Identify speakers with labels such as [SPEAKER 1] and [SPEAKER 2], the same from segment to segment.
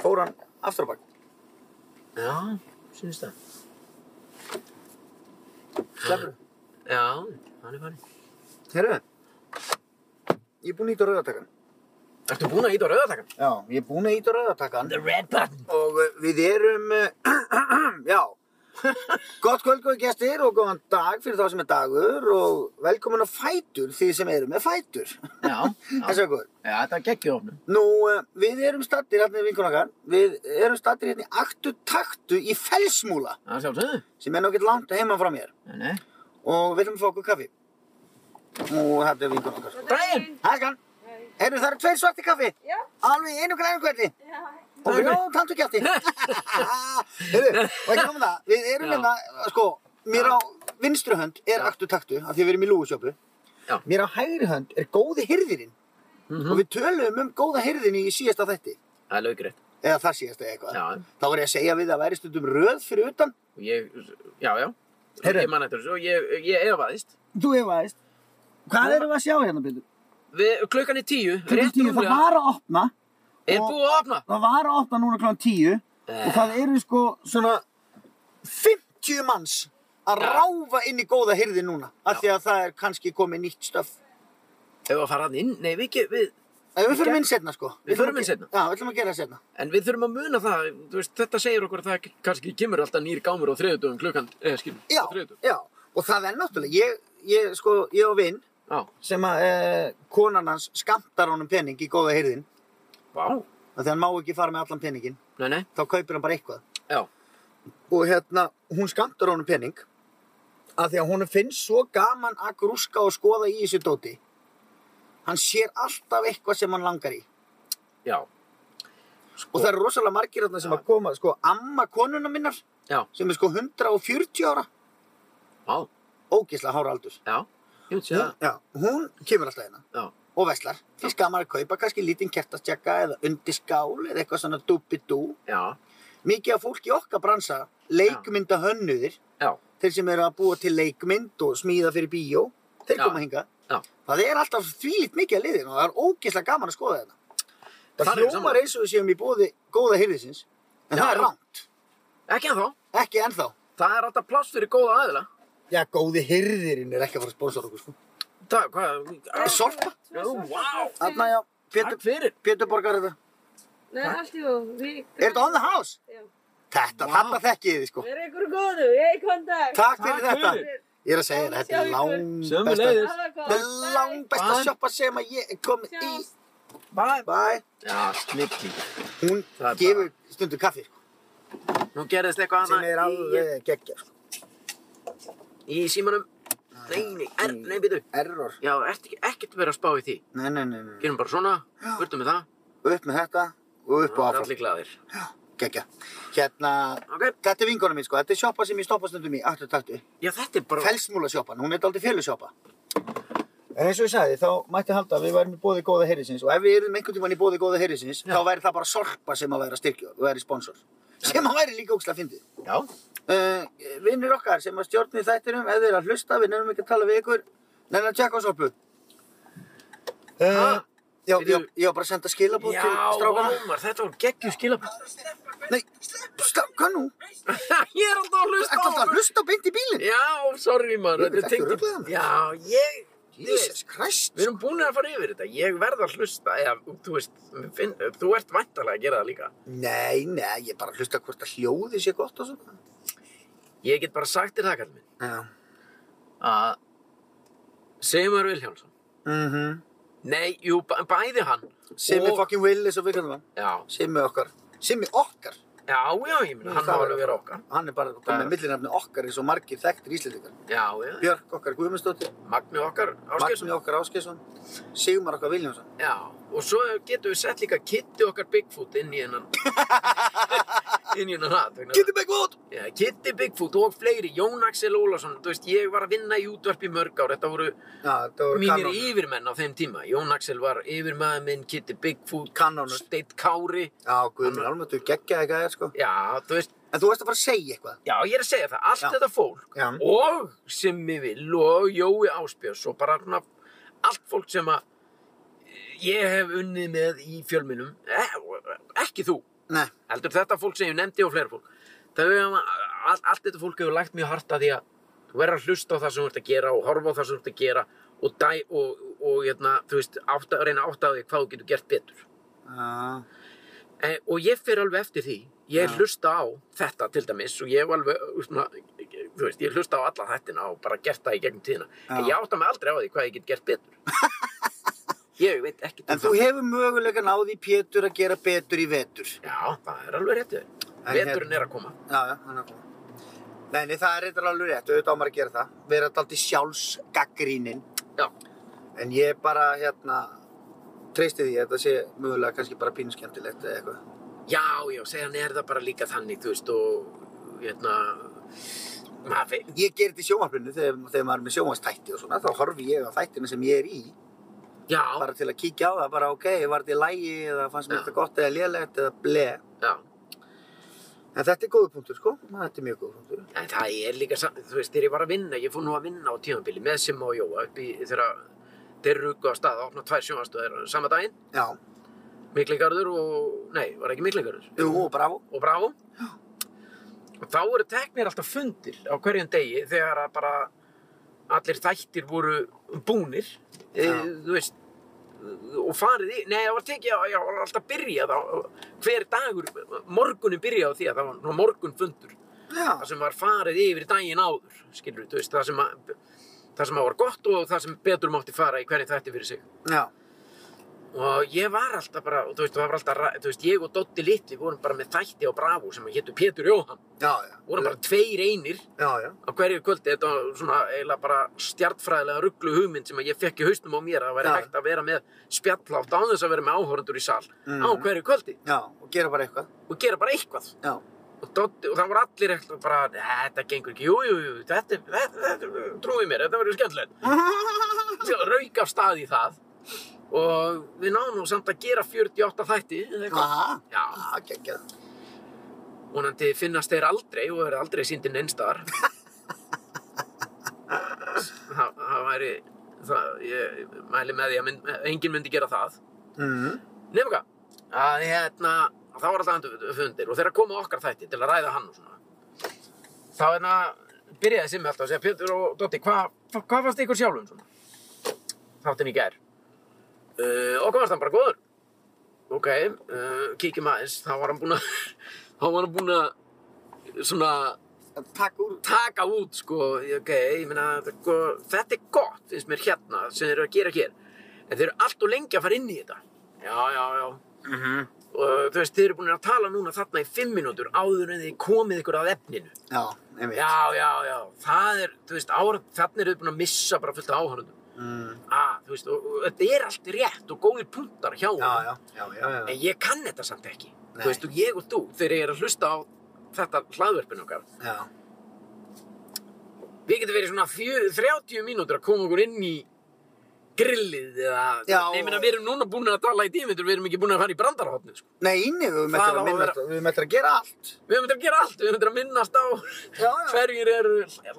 [SPEAKER 1] fór hann aftur á bak.
[SPEAKER 2] Já, sínist það.
[SPEAKER 1] Sleppur.
[SPEAKER 2] Já, hann er farin.
[SPEAKER 1] Herru, ég er búinn að íta á rauðatakan.
[SPEAKER 2] Ertu búinn að íta á rauðatakann?
[SPEAKER 1] Já, ég er búinn að íta á rauðatakan
[SPEAKER 2] The red button.
[SPEAKER 1] og eh, við erum, eh, já, gott kvöld góði gestir og góðan dag fyrir þá sem er dagur og velkomin að fætur því sem eru með fætur.
[SPEAKER 2] Já, já,
[SPEAKER 1] Þessi okkur.
[SPEAKER 2] já þetta er geggjófnum.
[SPEAKER 1] Nú, eh, við erum stattir hérna í vinkunakar, við erum stattir hérna í aktu taktu í felsmúla
[SPEAKER 2] Það sjálfsögðu.
[SPEAKER 1] sem er nokkið langt heima frá mér
[SPEAKER 2] Nei, nei.
[SPEAKER 1] og við erum að fá okkur kaffi. Nú, hérna, þetta er vinkunakar.
[SPEAKER 2] Daginn.
[SPEAKER 1] Hæskan, heyrðu það eru tveir svartir kaffi.
[SPEAKER 3] Já,
[SPEAKER 1] Alveg í einu grænu hverdi
[SPEAKER 3] já,
[SPEAKER 1] og við náðum tantu kjátti. Heyrðu, og ekki komið það, við erum
[SPEAKER 2] Já.
[SPEAKER 1] hérna, sko, mér
[SPEAKER 2] Já.
[SPEAKER 1] á vinstri hönd er
[SPEAKER 2] Já.
[SPEAKER 1] aktu taktu af því við erum í lúgusjöpu.
[SPEAKER 2] Já. Mhm.
[SPEAKER 1] Mér á hægri hönd er góði hirðirinn og við töluðum um góða hirðinni í síðasta þætti.
[SPEAKER 2] Það er löggrétt.
[SPEAKER 1] Eða þar síðasta eða eitthvað.
[SPEAKER 2] Já,
[SPEAKER 1] Þá var ég að segja við að væri stundum röð fyrir utan.
[SPEAKER 2] og ég, já, já.
[SPEAKER 1] Heyrðu.
[SPEAKER 2] Ég man eftir þessu og ég, ég efaðist.
[SPEAKER 1] Þú efaðist. Hvað erum við að sjá hérna, Bildur?
[SPEAKER 2] Við, klukkan er tíu, rétt
[SPEAKER 1] Það
[SPEAKER 2] rúmlega,
[SPEAKER 1] var að opna,
[SPEAKER 2] er búið að opna.
[SPEAKER 1] það var að opna núna kl. 10
[SPEAKER 2] Eh.
[SPEAKER 1] og það eru sko svona 50 manns að
[SPEAKER 2] Já.
[SPEAKER 1] ráfa inn í góða hirði núna af
[SPEAKER 2] Já.
[SPEAKER 1] því að það er kannski komið nýtt stöf
[SPEAKER 2] Ef við að fara hann inn, nei við ekki, við,
[SPEAKER 1] en við förum inn setna sko
[SPEAKER 2] Við förum
[SPEAKER 1] ætlum
[SPEAKER 2] inn
[SPEAKER 1] að ge-
[SPEAKER 2] seinna.
[SPEAKER 1] já, við ætlum að gera það setna
[SPEAKER 2] en við þurfum að muna það, þú veist, þetta segir okkur að það kannski kemur alltaf nýr gámur á þriðutum klukkan, eða skilum, á
[SPEAKER 1] já,
[SPEAKER 2] þriðutum.
[SPEAKER 1] já, og það er náttúrulega ég, ég, sko, ég og vinn
[SPEAKER 2] Já,
[SPEAKER 1] sem að eh, konan hans skamtar honum pening í góða hirðin
[SPEAKER 2] vá,
[SPEAKER 1] af því að hann má ekki fara með allan peningin
[SPEAKER 2] nei, nei,
[SPEAKER 1] þá kaupir hann bara eitthvað
[SPEAKER 2] já,
[SPEAKER 1] og hérna, hún skamtar honum pening af því að hún finnst svo gaman að grúska og skoða í þessu dóti hann sér alltaf eitthvað sem hann langar í
[SPEAKER 2] já,
[SPEAKER 1] og það eru rosalega margir þarna sem
[SPEAKER 2] Já.
[SPEAKER 1] að koma sko, amma konuna minnar
[SPEAKER 2] já,
[SPEAKER 1] sem er sko 140 ára
[SPEAKER 2] vá,
[SPEAKER 1] ógislega hára aldur
[SPEAKER 2] já, ég veit sé
[SPEAKER 1] hún,
[SPEAKER 2] það,
[SPEAKER 1] já, hún kemur alltaf hérna
[SPEAKER 2] já,
[SPEAKER 1] og veslar, finnst gaman að kaupa kannski lítinn kertastjaka eða undirskál eða eitthvað svona dúbidú
[SPEAKER 2] já,
[SPEAKER 1] mikið af fólki í okkar bransa leikmynda hönnuðir
[SPEAKER 2] já,
[SPEAKER 1] þeir sem eru að búa til leikmynd og smíða fyrir bíó, þeir
[SPEAKER 2] Já.
[SPEAKER 1] koma hinga.
[SPEAKER 2] Já.
[SPEAKER 1] Það er alltaf þvílitt mikið að liðin og það er ógeðslega gaman að skoða þetta. Það
[SPEAKER 2] Þar er við
[SPEAKER 1] hljómar
[SPEAKER 2] saman.
[SPEAKER 1] eins og við séum í bóði góða hirðisins, en
[SPEAKER 2] Já.
[SPEAKER 1] það er rangt.
[SPEAKER 2] ekki en þá,
[SPEAKER 1] Ekki ennþá.
[SPEAKER 2] það er alltaf pláss fyrir góða aðila,
[SPEAKER 1] Já, góði hirðirinn er ekki að fara að sponsora okkur, sko.
[SPEAKER 2] það, hvað,
[SPEAKER 1] Er Eh, sorpa?
[SPEAKER 2] já, vá,
[SPEAKER 1] Þarna, já,
[SPEAKER 2] takk
[SPEAKER 1] Pétur,
[SPEAKER 2] fyrir,
[SPEAKER 1] Pétur borgar þetta.
[SPEAKER 3] Nei, allt í og við...
[SPEAKER 1] Er þetta on the house?
[SPEAKER 3] Já.
[SPEAKER 1] Þetta,
[SPEAKER 2] Vá.
[SPEAKER 1] þarna þekki ég þið, sko.
[SPEAKER 3] Er ykkur góðu, ég kom dag.
[SPEAKER 1] Takk fyrir
[SPEAKER 2] Takk
[SPEAKER 1] þetta.
[SPEAKER 2] fyrir.
[SPEAKER 1] Ég er að segja þér, þetta er
[SPEAKER 3] Sjá ykkur.
[SPEAKER 1] langbesta,
[SPEAKER 2] Sömuleiðis.
[SPEAKER 3] Það var
[SPEAKER 1] þetta
[SPEAKER 3] góð.
[SPEAKER 1] er langbesta
[SPEAKER 2] Bye.
[SPEAKER 1] sjoppa sem að ég er komið í.
[SPEAKER 3] Sjáumst.
[SPEAKER 2] bæ,
[SPEAKER 1] Bye.
[SPEAKER 2] já, snilli,
[SPEAKER 1] Hún
[SPEAKER 2] Það er
[SPEAKER 1] gefur stundu kaffi, sko.
[SPEAKER 2] nú gerðist eitthvað
[SPEAKER 1] sem er
[SPEAKER 2] annað í,
[SPEAKER 1] alveg geggja
[SPEAKER 2] sko. í símanum, nei, nei, er, nei, býtu,
[SPEAKER 1] error
[SPEAKER 2] já, ert ekki, ekkert verið að spá í því,
[SPEAKER 1] nei, nei, nei, nei.
[SPEAKER 2] gerum bara svona, vörtum við það,
[SPEAKER 1] upp með þetta og upp
[SPEAKER 2] það
[SPEAKER 1] og
[SPEAKER 2] er
[SPEAKER 1] áfram
[SPEAKER 2] allir glæðir,
[SPEAKER 1] geggja hérna
[SPEAKER 2] ok,
[SPEAKER 1] þetta er vinkona mín sko þetta er sjoppa sem ég stoppa stundum í aftur taktu
[SPEAKER 2] já, þetta er bara,
[SPEAKER 1] felsmúla sjoppan hún er aldrei fjölu sjoppa en eins og ég sagði þá mætti halda að við værum í bóði góða heyrisins og ef við erum einhvern tíman í bóði góða heyrisins
[SPEAKER 2] Já.
[SPEAKER 1] þá væri það bara sorpa sem að væri að styrkja og væri sponsor sem að væri líka ógslag fyndið
[SPEAKER 2] já,
[SPEAKER 1] uh, vinnir okkar sem að stjórni þættinum ef þeir eru að hlusta, við nefnum ekki að tala við ykkur nefnum að tjekka á sorpu uh,
[SPEAKER 2] Ha?
[SPEAKER 1] já,
[SPEAKER 2] Byrju.
[SPEAKER 1] já, já, bara að senda skilabóð
[SPEAKER 2] Já,
[SPEAKER 1] til strákana
[SPEAKER 2] Ómar, þetta var geggjum skilabóð.
[SPEAKER 1] nei, stráka nú
[SPEAKER 2] ég er alltaf að hlusta
[SPEAKER 1] ekki alltaf Ah. að hlusta beint í bílinn
[SPEAKER 2] Já, sorry maður,
[SPEAKER 1] Ég veit
[SPEAKER 2] þetta er
[SPEAKER 1] ekki
[SPEAKER 2] tengt.
[SPEAKER 1] ruglaðan.
[SPEAKER 2] Já, ég,
[SPEAKER 1] Jesus
[SPEAKER 2] ég,
[SPEAKER 1] Christ
[SPEAKER 2] við erum búin að fara yfir þetta. Ég verð að hlusta, eða, þú veist, finn, þú ert væntalega að gera það líka.
[SPEAKER 1] nei, nei, ég er bara að hlusta hvort að hljóði sé gott og svona
[SPEAKER 2] Ég get bara sagt þér það, kallum minn,
[SPEAKER 1] já, Ah.
[SPEAKER 2] að Seymar Vilhjálmsson,
[SPEAKER 1] mhm
[SPEAKER 2] nei, jú, bæ- bæði hann.
[SPEAKER 1] Simmi
[SPEAKER 2] og-
[SPEAKER 1] fucking Willis og við kallum hann
[SPEAKER 2] Já,
[SPEAKER 1] Simmi okkar Simmi okkar
[SPEAKER 2] já, já, ég meina, hann má
[SPEAKER 1] Það er-
[SPEAKER 2] alveg vera okkar.
[SPEAKER 1] Hann er bara
[SPEAKER 2] Það
[SPEAKER 1] komið
[SPEAKER 2] er-
[SPEAKER 1] með millinafni okkar eins og margir þekktir íslendingar
[SPEAKER 2] Já, já,
[SPEAKER 1] Björk okkar Guðmundsdóttir
[SPEAKER 2] Magni okkar,
[SPEAKER 1] Magni
[SPEAKER 2] Áskjörsson.
[SPEAKER 1] okkar Áskeisson, Sigmar okkar Viljánsson.
[SPEAKER 2] Já, og svo getum við sett líka Kitty okkar Bigfoot inn í hennan, inn í hennan hatt. vegna-
[SPEAKER 1] Bigfoot!
[SPEAKER 2] Já, Kitty Bigfoot og fleiri, Jón Axel Ólason, þú veist, ég var að vinna í útvarp í mörg ár, þetta voru
[SPEAKER 1] Já, þetta voru
[SPEAKER 2] mínir
[SPEAKER 1] kanónur.
[SPEAKER 2] yfirmenn á þeim tíma. Jón Axel var yfirmaður minn, Kitty Bigfoot,
[SPEAKER 1] Kanónur.
[SPEAKER 2] Steinn Kári,
[SPEAKER 1] Já, guð minn alveg, þú geggja eitthvað þér, sko.
[SPEAKER 2] já, þú veist,
[SPEAKER 1] En þú veist að fara að segja eitthvað.
[SPEAKER 2] já, ég er að segja það, allt
[SPEAKER 1] Já.
[SPEAKER 2] þetta fólk
[SPEAKER 1] Já.
[SPEAKER 2] og Simmi Vill og Jói Áspjörs og bara svona allt fólk sem að ég hef unnið með í fjölminum, eh, ekki þú,
[SPEAKER 1] Nei,
[SPEAKER 2] heldur þetta fólk sem ég nefndi og fleira fólk þau hafa, all, allt þetta fólk hefur lægt mjög hart að því að þú verður að hlusta á það sem þú ert að gera og horfa á það sem þú ert að gera og, dæ, og, og hérna, þú veist, átta, reyna að átta á því hvað þú getur gert betur
[SPEAKER 1] uh,
[SPEAKER 2] e, og ég fer alveg eftir því ég
[SPEAKER 1] Já.
[SPEAKER 2] hlusta á þetta til dæmis og ég hef alveg, uh, svona, þú veist, ég hlusta á alla þettina og bara gert það í gegnum tíðina en
[SPEAKER 1] Já.
[SPEAKER 2] ég átta mig aldrei á því hvað ég get gert betur ég veit ekki um
[SPEAKER 1] en þú hefur möguleika náði Pétur að gera betur í vetur.
[SPEAKER 2] Já, það er alveg réttu
[SPEAKER 1] En hérna-
[SPEAKER 2] Veturinn er að koma
[SPEAKER 1] Já, já, hann er komið. Nei, nei, það er reyndar alveg rétt, auðvitað á maður að gera það. Vera daldi sjálfsgaggrínin.
[SPEAKER 2] Já.
[SPEAKER 1] En ég bara, hérna, treysti því að þetta sé mögulega kannski bara pínuskemmtilegt eða eitthvað.
[SPEAKER 2] Já, já, segjan er það bara líka þannig, þú veist, og hérna, maður veit,
[SPEAKER 1] Ég ger þetta í sjónvarpinu þegar, þegar maður er með sjónvarstætti og svona, þá horfi ég á þættina sem ég er í.
[SPEAKER 2] já,
[SPEAKER 1] Bara til að kíkja á það, bara ok, var þetta í lægi eða fannst mér
[SPEAKER 2] Já.
[SPEAKER 1] þetta gott eða lélegt eða ble.
[SPEAKER 2] já,
[SPEAKER 1] En þetta er góður punktur, sko. Þetta er mjög góður punktur.
[SPEAKER 2] en það er líka, sa- þú veist, þegar ég var að vinna, ég fór nú að vinna á tímanbili með Simma og Jóa upp í þeirra, þeir rúku á stað, opna tvær sjónastöðir sama daginn,
[SPEAKER 1] Já,
[SPEAKER 2] Miklingarður og, nei, var ekki Miklingarður,
[SPEAKER 1] jú, og bravo.
[SPEAKER 2] og Bravo. Og þá voru teknir alltaf fundir á hverjum degi þegar að bara allir þættir voru búnir, e,
[SPEAKER 1] Já.
[SPEAKER 2] þú veist, og farið í, nei, það var tekið, á- já, það var alltaf byrjað á, hver dagur, morgunin byrjað á því að það var morgun fundur,
[SPEAKER 1] Já,
[SPEAKER 2] það sem var farið yfir daginn áður, skilur þú veist, það sem að, það sem að var gott og það sem betur mátti fara í hverjum þætti fyrir sig.
[SPEAKER 1] já,
[SPEAKER 2] Og ég var alltaf bara, og þú veist, það var alltaf, ra- þú veist, ég og Dotti Littli vorum bara með þætti á Bravo sem héttu Pétur Jóhann.
[SPEAKER 1] já, já.
[SPEAKER 2] Vorum bara tveir einir
[SPEAKER 1] Já, já.
[SPEAKER 2] á hverju kvöldi. Þetta var svona eiginlega bara stjartfræðilega rugglu hugmynd sem að ég fekk í haustum á mér að það væri
[SPEAKER 1] Já.
[SPEAKER 2] hægt að vera með spjallátt án þess að vera með áhorundur í sal
[SPEAKER 1] Mhm.
[SPEAKER 2] á hverju kvöldi
[SPEAKER 1] Já, og gera bara eitthvað.
[SPEAKER 2] og gera bara eitthvað.
[SPEAKER 1] Já.
[SPEAKER 2] Og, Doddi, og það voru allir eitthvað bara, "Nei, þetta gengur ekki, jú, jú, jú, þetta, er- þetta, þetta trúið mér, þetta verður skemmtilegt. Svo rauk af stað í það og við náðum nú samt að gera 48 þætti, eða eitthvað.
[SPEAKER 1] Aha,
[SPEAKER 2] Já.
[SPEAKER 1] já, geggjað.
[SPEAKER 2] Vonandi finnast þeir aldrei og verður aldrei síndin einstar. það, það væri, það, ég mæli með því að mynd, enginn myndi gera það.
[SPEAKER 1] Mm.
[SPEAKER 2] Nefnum hvað, að hérna, þá var alltaf endur fundir og þegar koma okkar þætti til að ræða hann og svona. Þá hérna byrjaði Simmi alltaf að segja, Pétur og Dotti, hvað hva, hva fannst ykkur sjálfum svona? Þáttin í gær. Uh, okkur fannst hann bara góður. Ok, uh, kíkjum aðeins, þá var hann búinn að, þá var hann búinn að, svona,
[SPEAKER 1] Takk úr.
[SPEAKER 2] taka út sko, ok, ég meina sko, þetta er gott, finnst mér hérna sem þeir eru að gera hér, en þeir eru allt og lengi að fara inn í þetta já, já, já,
[SPEAKER 1] Mm
[SPEAKER 2] Mm-hmm.
[SPEAKER 1] -hmm.
[SPEAKER 2] og þú veist, þeir eru búin að tala núna þarna í fimm mínútur áður en þeir komið ykkur að efninu
[SPEAKER 1] Já, einmitt.
[SPEAKER 2] já, já, já, það er, þú veist ára, þarna eru þeir búin að missa bara fullt af áhörnum
[SPEAKER 1] Mm.
[SPEAKER 2] að, þú veist, og, og þetta er allt rétt og góðir punktar
[SPEAKER 1] Já,
[SPEAKER 2] hjá honum.
[SPEAKER 1] já, já, já, já.
[SPEAKER 2] en ég kann þetta samt ekki
[SPEAKER 1] Nei.
[SPEAKER 2] þú veist, og ég og þú, þegar ég er að hlusta á þetta hlaðverfin okkar
[SPEAKER 1] Já,
[SPEAKER 2] Við getum verið svona fjö, 30 mínútur að koma okkur inn í grillið eða...
[SPEAKER 1] Já,
[SPEAKER 2] Nei, ég meina,
[SPEAKER 1] og-
[SPEAKER 2] við erum núna búin að tala í tímyndur, við erum ekki búin að fara í brandarhóttni, sko.
[SPEAKER 1] Nei, inni, við
[SPEAKER 2] Það á að vera-
[SPEAKER 1] möttum að gera allt.
[SPEAKER 2] Við höfum þetta að gera allt, við höfum þetta að minnast á
[SPEAKER 1] Já, já.
[SPEAKER 2] hverjir eru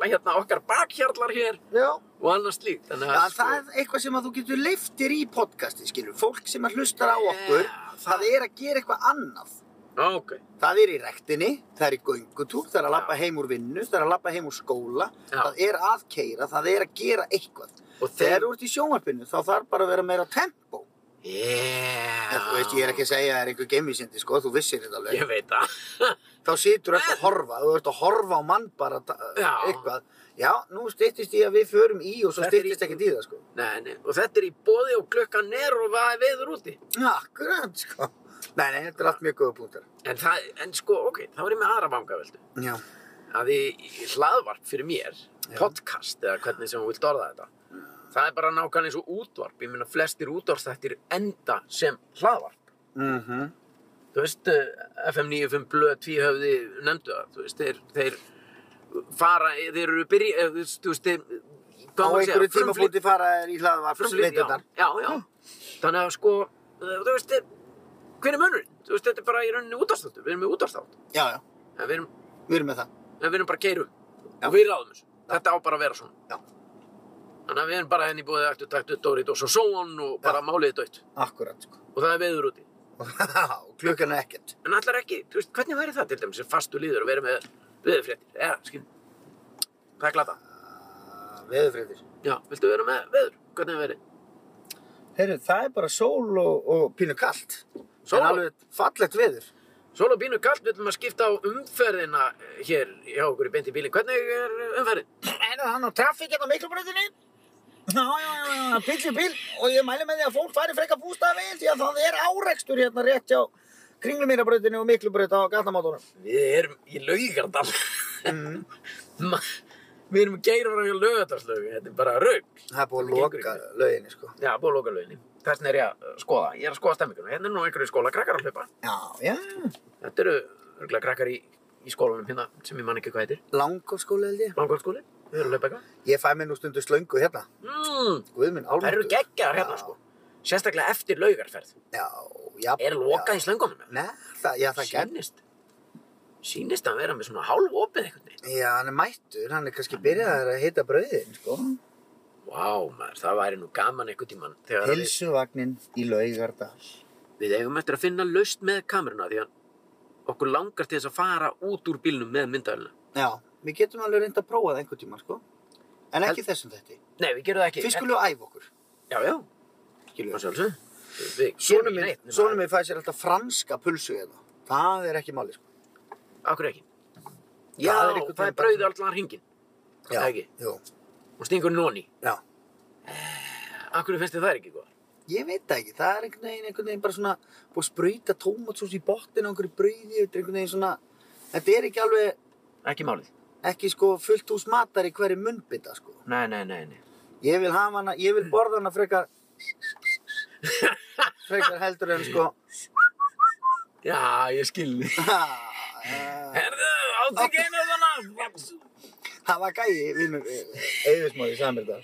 [SPEAKER 2] hérna okkar bakhjarlar hér
[SPEAKER 1] já.
[SPEAKER 2] og annars slíkt. Þannig sko,
[SPEAKER 1] Já, það er eitthvað sem að þú getur leiftir í podcasti, skilur. Fólk sem að hlustar á okkur,
[SPEAKER 2] Já,
[SPEAKER 1] það
[SPEAKER 2] það-
[SPEAKER 1] er að gera eitthvað annað.
[SPEAKER 2] Ok,
[SPEAKER 1] Það er í rektinni, það er í göngutúr, það er að lappa heim úr vinnu, það er að lappa heim úr skóla,
[SPEAKER 2] Já.
[SPEAKER 1] það er að keira, það er að gera eitthvað.
[SPEAKER 2] og
[SPEAKER 1] Þegar
[SPEAKER 2] þeir...
[SPEAKER 1] þú ert í sjónvarpinu, þá þarf bara að vera meira tempo.
[SPEAKER 2] Yeah.
[SPEAKER 1] En Þú veist, ég er ekki að segja að það er einhver gemisindi, sko, þú vissir þetta alveg.
[SPEAKER 2] Ég veit það.
[SPEAKER 1] þá situr þetta að horfa, þú ert að horfa á mann bara ta-
[SPEAKER 2] Já.
[SPEAKER 1] eitthvað. Já, nú styttist ég að við förum í og svo
[SPEAKER 2] Þetta er
[SPEAKER 1] styttist
[SPEAKER 2] í-
[SPEAKER 1] ekkert í það, sko.
[SPEAKER 2] nei, nei, og þetta er í bóði og klukkan er og það er veður úti.
[SPEAKER 1] Akkurat, sko. Nei, nei, þetta er allt mjög góða punktar.
[SPEAKER 2] En það, en sko, ok, þá er ég með aðra vangaveldu.
[SPEAKER 1] Já.
[SPEAKER 2] að því í hlaðvarp fyrir mér, podcast eða hvernig sem hún vilt orða þetta, það er bara nákvæmlega eins og útvarp. Ég meina flestir útvarstættir enda sem hlaðvarp.
[SPEAKER 1] Mm
[SPEAKER 2] Þú veist, eh, FM 95 blöð tvíhöfði nefndu það, þú veist, þeir, þeir fara, eh, þeir eru byrja, eh, þú veist, þú veist, þeir,
[SPEAKER 1] Á
[SPEAKER 2] hvað á að segja,
[SPEAKER 1] einhverju
[SPEAKER 2] frumflyt-
[SPEAKER 1] tímafóti fara þær í
[SPEAKER 2] frumflyt- já,
[SPEAKER 1] hlaðvarpsveitundan.
[SPEAKER 2] já, já, þannig að sko, eh, þú veist, eh, hver er munurinn? Þú veist, þetta er bara í rauninni útvarstáttur, við erum með útvarstáttur,
[SPEAKER 1] Já, já,
[SPEAKER 2] en við erum
[SPEAKER 1] við erum með það.
[SPEAKER 2] en við erum bara keirum og við ráðum þessu, þetta á bara að vera svona
[SPEAKER 1] Já.
[SPEAKER 2] þannig að við erum hérna bara henni búið eftir taktu Dórit og svo són og bara málið er dött
[SPEAKER 1] Akkurat, sko.
[SPEAKER 2] og það er veður úti
[SPEAKER 1] Og klukkan er ekkert.
[SPEAKER 2] En allar ekki, þú veist, hvernig væri það til dæmis sem fastu líður að vera með veðurfréttir? Eða, skil, það er glata.
[SPEAKER 1] Uh, Veðurfréttir.
[SPEAKER 2] Já, viltu vera með veður? Hvernig það væri?
[SPEAKER 1] Heyrðu, það er bara sól og, og pínu kallt.
[SPEAKER 2] Sól
[SPEAKER 1] En
[SPEAKER 2] og-
[SPEAKER 1] alveg fallegt veður.
[SPEAKER 2] Sól og bínu kalt, við viljum að skipta á umferðina eh, hér hjá okkur í beint í bílinn. Hvernig er eh, umferðin?
[SPEAKER 1] En það er nú traffíkinn á miklubröðinni. Já, já, já, já, bíl í bíl og ég mæli með því að fólk fari frekka bústafið því að það er árekstur hérna rétt hjá kringlumýrabröðinni og miklubröð á gatnamátunum.
[SPEAKER 2] Við erum í laugardal.
[SPEAKER 1] Mm.
[SPEAKER 2] Ma- við erum geirvar á laugardarslögu, þetta er bara raug.
[SPEAKER 1] Það er búið að
[SPEAKER 2] Það gengur
[SPEAKER 1] loka löginni, sko.
[SPEAKER 2] Já, búið að loka lauginni. Þess vegna er ég að eh, skoða, ég er að skoða stemminguna. Hérna er nú einhverju skóla krakkar að hlaupa.
[SPEAKER 1] Já, já,
[SPEAKER 2] Þetta eru örgulega krakkar í, í skólanum hérna sem ég man ekki hvað heitir.
[SPEAKER 1] langskóla held ég.
[SPEAKER 2] Langvartskóli, við erum að hlaupa eitthvað.
[SPEAKER 1] Ég fæ mér nú stundu slöngu hérna.
[SPEAKER 2] Mm,
[SPEAKER 1] Guð minn,
[SPEAKER 2] það
[SPEAKER 1] álmáttugur.
[SPEAKER 2] eru geggjaðar hérna
[SPEAKER 1] Já.
[SPEAKER 2] sko. Sérstaklega eftir laugarferð.
[SPEAKER 1] Já, já.
[SPEAKER 2] Er lokað í slöngunum? eða?
[SPEAKER 1] Nei, það, já, það gerð.
[SPEAKER 2] Sýnist. Sýnist að vera með svona hálf opið einhvern veginn.
[SPEAKER 1] Já, hann er mættur, hann er kannski byrjaðar að hita brauðin, sko.
[SPEAKER 2] Vá maður, það væri nú gaman einhvern tímann. Þegar við,
[SPEAKER 1] Hilsuvagnin í Laugardal.
[SPEAKER 2] við eigum eftir að finna laust með kameruna því að okkur langar til þess að fara út úr bílnum með myndavælina.
[SPEAKER 1] Já, við getum alveg reynda að prófa það einhver tíma, sko. En ekki þessum þetta.
[SPEAKER 2] Nei, við gerum það ekki.
[SPEAKER 1] Fyrst skulum við æfa okkur,
[SPEAKER 2] Já, já,
[SPEAKER 1] skilum
[SPEAKER 2] það
[SPEAKER 1] við.
[SPEAKER 2] sjálfsög. Við
[SPEAKER 1] Sónum
[SPEAKER 2] gerum ekki neitt.
[SPEAKER 1] minn, sónum minn fæði sér alltaf franska pulsu hérna. Það er ekki máli, sko.
[SPEAKER 2] Akkur ekki. Já,
[SPEAKER 1] Það
[SPEAKER 2] það
[SPEAKER 1] er
[SPEAKER 2] er,
[SPEAKER 1] einhvern
[SPEAKER 2] það
[SPEAKER 1] veginn
[SPEAKER 2] er brauðið allan hringin.
[SPEAKER 1] Já,
[SPEAKER 2] Það ekki.
[SPEAKER 1] Jú,
[SPEAKER 2] Og stingur nóni.
[SPEAKER 1] já.
[SPEAKER 2] Akkur finnst þið það ekki góð?
[SPEAKER 1] Ég veit það ekki, það er einhvern veginn, einhvern veginn bara svona búið að sprauta tómatsós í botnin á einhverju brauði, þetta er einhvern veginn svona, þetta er ekki alveg,
[SPEAKER 2] Ekki málið.
[SPEAKER 1] ekki sko fullt hús matar í hverju munnbytta, sko.
[SPEAKER 2] Nei, nei, nei, nei.
[SPEAKER 1] Ég vil hafa hana, ég
[SPEAKER 2] Mm.
[SPEAKER 1] vil borða hana frekar frekar heldur en sko
[SPEAKER 2] Já, ég skil þið.
[SPEAKER 1] Ah, það
[SPEAKER 2] Herðu, átt ekki einu svona.
[SPEAKER 1] var gæi eh, vinnur Eifismáði Samirdal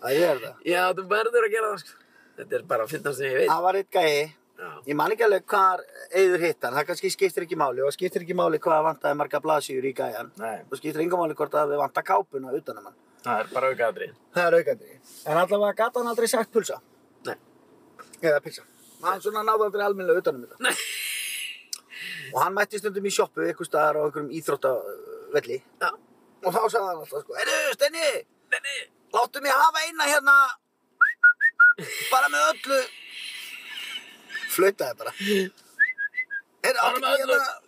[SPEAKER 1] að ég er það
[SPEAKER 2] Já, þú verður að gera það, sko. Þetta er bara að finna sem ég veit.
[SPEAKER 1] það var eitt gæi,
[SPEAKER 2] Já.
[SPEAKER 1] ég man ekki alveg hvar Eifur hitt hann, það kannski skiptir ekki máli og skiptir ekki máli hvað vantaði marga blasjur í gæjan
[SPEAKER 2] Nei,
[SPEAKER 1] og skiptir enga máli hvort að við vanta kápuna utanum hann
[SPEAKER 2] það er bara auka aðrið.
[SPEAKER 1] það er aukandi, en allavega gata hann aldrei sagt pulsa
[SPEAKER 2] Nei.
[SPEAKER 1] eða pizza hann svona náði aldrei almennilega utanum þetta
[SPEAKER 2] Nei.
[SPEAKER 1] og hann mætti stundum í sjoppu eitthvað staðar á einhverjum íþróttavelli
[SPEAKER 2] Já.
[SPEAKER 1] og þá sagði hann alltaf sko Heyrðu, Steini,
[SPEAKER 2] Nei,
[SPEAKER 1] láttu mig hafa eina hérna bara með öllu flautaði bara Heyrðu,
[SPEAKER 2] Bara
[SPEAKER 1] áttu
[SPEAKER 2] með
[SPEAKER 1] mig
[SPEAKER 2] öllu.
[SPEAKER 1] hérna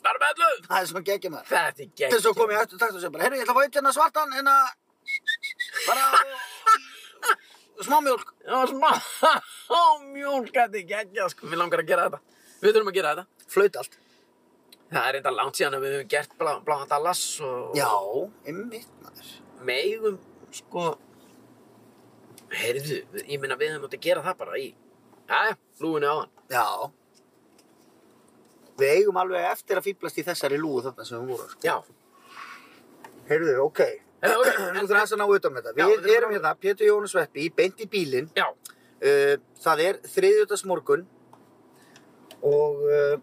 [SPEAKER 2] það er með allu.
[SPEAKER 1] það er svona geggjum maður
[SPEAKER 2] Þetta er gegn.
[SPEAKER 1] til svo kom ég eftir takt og segja bara Heyrðu, ég ætla að fá eitt hérna svartan hérna bara og- og smámjólk
[SPEAKER 2] Já, smá. Ó, mjólk, þetta er gegn, sko. Mér langar að gera þetta. Við þurfum að gera þetta.
[SPEAKER 1] flaut allt
[SPEAKER 2] Það er enda langt síðan að við höfum gert blá, blá Dallas og...
[SPEAKER 1] já, einmitt maður
[SPEAKER 2] megum sko heyrðu, við- ég meina við höfum átt að gera það bara í aðja, lúinu á hann
[SPEAKER 1] Já. Við eigum alveg eftir að fýblast í þessari lúu þarna sem við vorum. sko.
[SPEAKER 2] já,
[SPEAKER 1] Heyrðu, ok.
[SPEAKER 2] Heyrðu, ok.
[SPEAKER 1] Þú þarf aðeins að ná utan með þetta.
[SPEAKER 2] Já,
[SPEAKER 1] Við
[SPEAKER 2] við þurfum
[SPEAKER 1] erum
[SPEAKER 2] að-
[SPEAKER 1] hérna, Pétur Jónas Sveppi, í beint í bílinn.
[SPEAKER 2] já,
[SPEAKER 1] Uh, það er þriðjöldas morgun og uh,